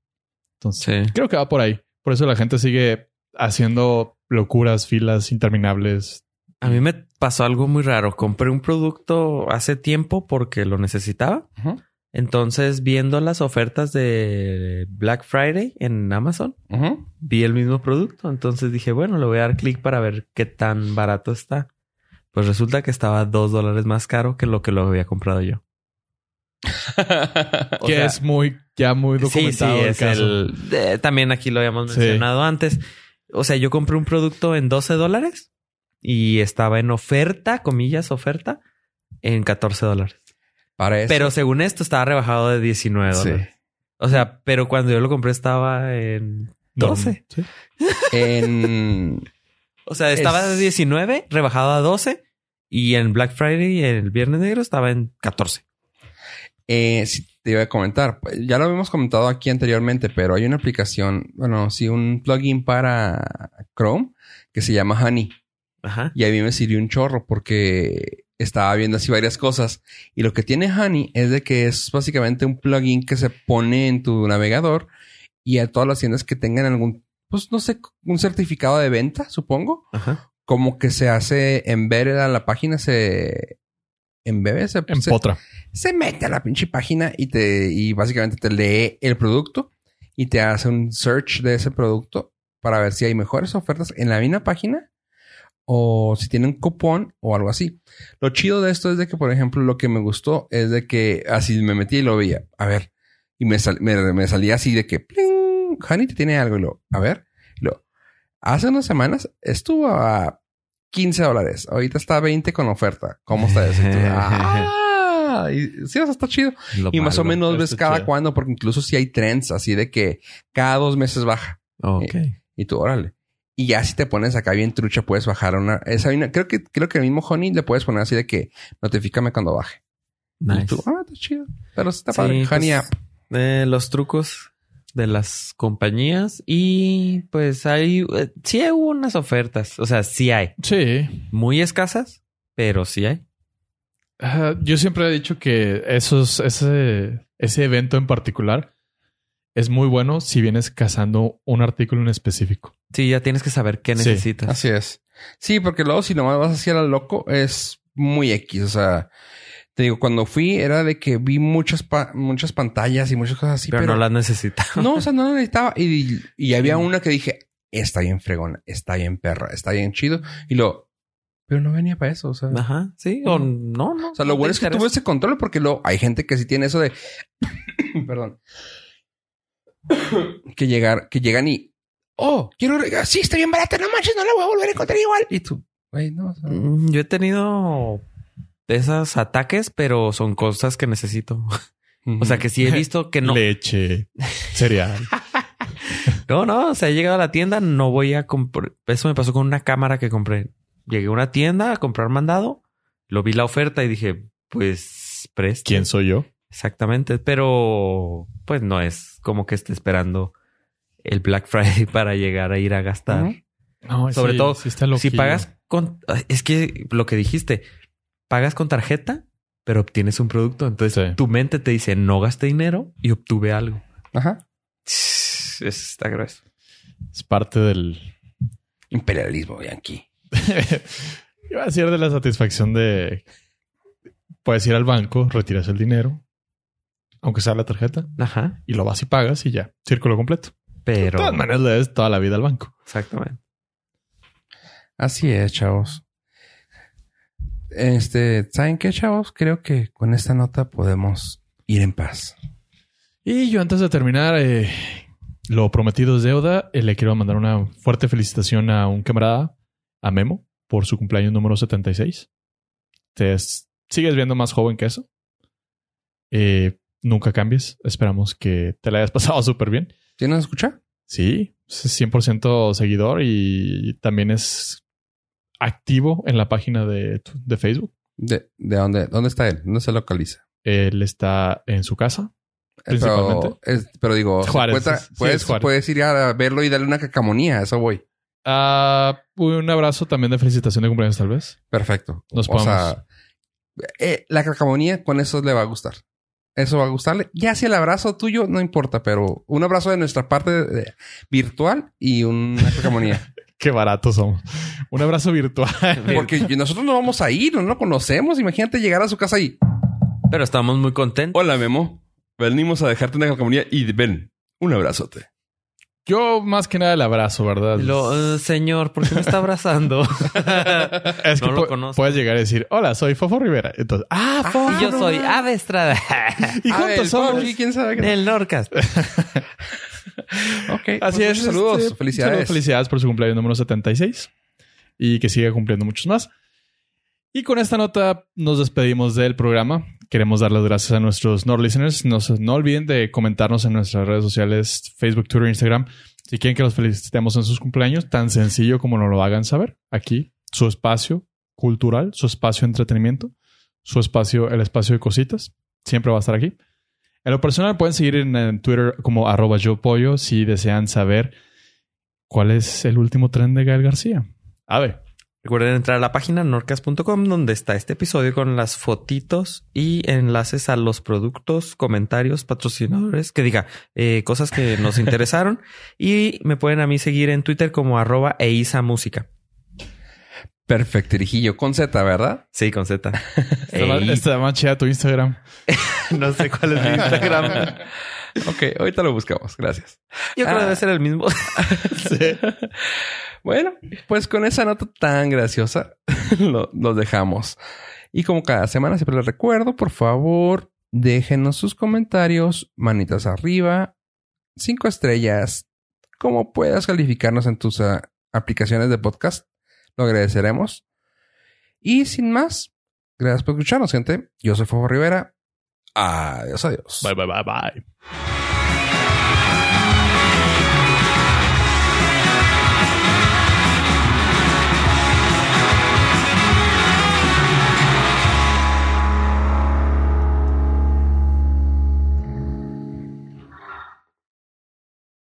S3: Entonces,
S4: Sí.
S3: creo que va por ahí. Por eso la gente sigue haciendo locuras, filas interminables.
S4: A mí me pasó algo muy raro. Compré un producto hace tiempo porque lo necesitaba.
S5: Ujú.
S4: Entonces, viendo las ofertas de Black Friday en Amazon,
S5: Ujú.
S4: vi el mismo producto. Entonces dije, bueno, le voy a dar clic para ver qué tan barato está. Pues resulta que estaba dos dólares más caro que lo que lo había comprado yo. O
S3: que
S4: sea,
S3: es muy, ya muy documentado el
S4: es
S3: caso.
S4: el- de- también aquí lo habíamos
S3: Sí.
S4: mencionado antes. O sea, yo compré un producto en 12 dólares y estaba en oferta, comillas, oferta, en 14 dólares.
S5: Para eso.
S4: Pero según esto estaba rebajado de 19
S5: Sí.
S4: dólares. O sea, pero cuando yo lo compré estaba en...
S3: No,
S4: 12.
S3: sí.
S5: En...
S4: O sea, estaba
S5: Es-
S4: de 19, rebajado a 12 y en Black Friday y el Viernes Negro estaba en 14.
S5: Eh, sí, te iba a comentar, pues, ya lo habíamos comentado aquí anteriormente, pero hay una aplicación, bueno, sí, un plugin para Chrome que se llama Honey.
S4: Ajá.
S5: Y a mí me sirvió un chorro porque estaba viendo así varias cosas. Y lo que tiene Honey es de que es básicamente un plugin que se pone en tu navegador y a todas las tiendas que tengan algún, pues no sé, un certificado de venta, supongo.
S4: Ajá.
S5: Como que se hace embedded a la página, se embebe, se,
S3: En
S5: se-
S3: potra.
S5: se mete a la pinche página y te y básicamente te lee el producto y te hace un search de ese producto para ver si hay mejores ofertas en la misma página o si tienen cupón o algo así. Lo chido de esto es de que, por ejemplo, lo que me gustó es de que así me metí y lo veía. A ver. Y me, sal- me, me salía así de que, pling, Honey te tiene algo. Y lo, a ver. Y lo, hace unas semanas estuvo a 15 dólares. Ahorita está a 20 con oferta. ¿Cómo está eso? Y tú, ah, y, sí, o sea, está chido.
S4: Lo
S5: Y más o
S4: malo.
S5: menos ves
S3: está
S5: cada
S3: chido.
S5: cuándo, porque incluso si hay trends así de que cada dos meses baja.
S4: Ok.
S5: Y tú, órale. Y ya si te pones acá bien trucha, puedes bajar una. Esa hay una- creo que creo que el mismo Honey le puedes poner así de que notifícame cuando baje. Y
S4: Nice.
S5: tú, ah, está chido. Pero sí está
S4: Sí,
S5: padre. Honey
S4: pues,
S5: app.
S4: eh, los trucos de las compañías y pues hay, eh, sí hay unas ofertas, o sea, sí hay,
S3: Sí.
S4: muy escasas, pero sí hay.
S3: Ajá, yo siempre he dicho que esos, ese, ese evento en particular es muy bueno si vienes cazando un artículo en específico.
S4: Sí, ya tienes que saber qué
S3: Sí.
S5: Ah,
S4: necesitas.
S5: Así es. Sí, porque luego si nomás vas así a lo loco, es muy X. O sea, te digo, cuando fui era de que vi muchas, pa- muchas pantallas y muchas cosas así.
S4: pero,
S5: Pero,
S4: no las necesita.
S5: no, o sea, no la necesitaba. Y, y había una que dije, está bien fregona, está bien perra, está bien chido. Y lo, pero no venía para eso. O sea,
S4: Ajá. Sí. O no, no.
S5: o sea, lo
S4: no te
S5: bueno es que
S4: interesa.
S5: tuve ese control porque luego hay gente que sí tiene eso de. Perdón. que llegar, que llegan y. Oh, quiero. rega- Sí, está bien barata, no manches, no la voy a volver a encontrar igual. Y tú, güey, no. o sea,
S4: Mm, Yo he tenido de esos ataques, pero son cosas que necesito.
S5: Mm.
S4: O sea, que sí he visto que no.
S3: Leche, cereal.
S4: No, no, o sea, he llegado a la tienda, no voy a comprar. Eso me pasó con una cámara que compré. Llegué a una tienda a comprar mandado, lo vi la oferta y dije, pues, presto.
S3: ¿Quién soy yo?
S4: Exactamente, pero pues no es como que esté esperando el Black Friday para llegar a ir a gastar.
S5: Ujú.
S3: No,
S4: Sobre todo,
S3: está
S4: Si
S3: loquillo.
S4: pagas con... Es que lo que dijiste, pagas con tarjeta, pero obtienes un producto. Entonces
S3: Sí.
S4: tu mente te dice, no gasté dinero y obtuve algo.
S5: Ajá.
S4: Eso está grueso.
S3: Es parte del.
S5: Imperialismo, Yankee.
S3: Iba a decir de la satisfacción de. Puedes ir al banco, retiras el dinero, aunque sea la tarjeta,
S4: Ajá,
S3: y lo vas y pagas y ya. Círculo completo. De
S4: pero...
S3: todas maneras, le des toda la vida al banco.
S4: Exactamente.
S5: Así es, chavos. Este, ¿saben qué, chavos? Creo que con esta nota podemos ir en paz.
S3: Y yo, antes de terminar, eh, lo prometido es deuda. eh, le quiero mandar una fuerte felicitación a un camarada, a Memo, por su cumpleaños número 76. Te es- sigues viendo más joven que eso. Eh, nunca cambies. Esperamos que te la hayas pasado súper bien.
S5: ¿Sí nos escucha?
S3: Sí, es 100% seguidor y también es activo en la página de, tu- de Facebook.
S5: ¿De, de dónde, dónde está él? ¿Dónde se localiza?
S3: Él está en su casa.
S5: Eh, Pero,
S3: Principalmente.
S5: es- pero digo, se
S3: Juárez,
S5: encuentra-
S3: es- sí, es
S5: puedes,
S3: Juárez.
S5: puedes ir a verlo y darle una cacamonía, a eso voy.
S3: Ah, un abrazo también de felicitación de cumpleaños, tal vez.
S5: Perfecto.
S3: Nos
S5: o
S3: podemos.
S5: sea, eh, la cacamonía con eso le va a gustar. Eso va a gustarle. Ya si el abrazo tuyo no importa, pero un abrazo de nuestra parte eh, virtual y una cacamonía.
S3: Qué baratos somos. Un abrazo virtual.
S5: Porque nosotros no vamos a ir, no lo conocemos. Imagínate llegar a su casa y...
S4: Pero estamos muy contentos.
S5: Hola, Memo. Venimos a dejarte una cacamonía y ven, un abrazote.
S3: Yo más que nada el abrazo, ¿verdad?
S4: Lo, eh, señor, ¿por qué me está abrazando?
S3: es que
S4: eh, no lo
S3: pu-
S4: conozco.
S3: puedes llegar a decir, hola, soy Fofo Rivera. Entonces, ah, Fofo.
S4: y yo soy Ave Estrada
S3: Y juntos somos.
S5: ¿Quién sabe qué?
S4: del Norcas.
S5: Ok,
S3: Así
S5: pues
S3: es.
S5: muchos Saludos.
S3: este,
S5: Felicidades.
S3: saludos, felicidades por su cumpleaños número 76 y que siga cumpliendo muchos más. Y con esta nota nos despedimos del programa. Queremos dar las gracias a nuestros Nord listeners. No, se- no olviden de comentarnos en nuestras redes sociales, Facebook, Twitter, Instagram. Si quieren que los felicitemos en sus cumpleaños, tan sencillo como nos lo hagan saber. Aquí, su espacio cultural, su espacio de entretenimiento, su espacio, el espacio de cositas. Siempre va a estar aquí. En lo personal pueden seguir en, en Twitter como arroba yo pollo si desean saber cuál es el último tren de Gael García. A ver,
S4: Recuerden entrar a la página norcas.com donde está este episodio con las fotitos y enlaces a los productos, comentarios, patrocinadores, que diga eh, cosas que nos interesaron. y me pueden a mí seguir en Twitter como arroba eisa música.
S5: Perfecto, Irijillo. Con Z, ¿verdad?
S4: Sí, con Z.
S3: está, más,
S4: Ey.
S3: está más chida tu Instagram.
S4: no sé cuál es mi Instagram.
S5: ok, ahorita lo buscamos. Gracias.
S4: Yo creo que debe ser el mismo.
S5: Bueno, pues con esa nota tan graciosa lo- los dejamos. Y como cada semana siempre les recuerdo, por favor, déjenos sus comentarios, manitas arriba, cinco estrellas, como puedas calificarnos en tus ah, aplicaciones de podcast. Lo agradeceremos. Y sin más, gracias por escucharnos, gente. Yo soy Fofo Rivera. Adiós, adiós.
S3: Bye, bye, bye, bye.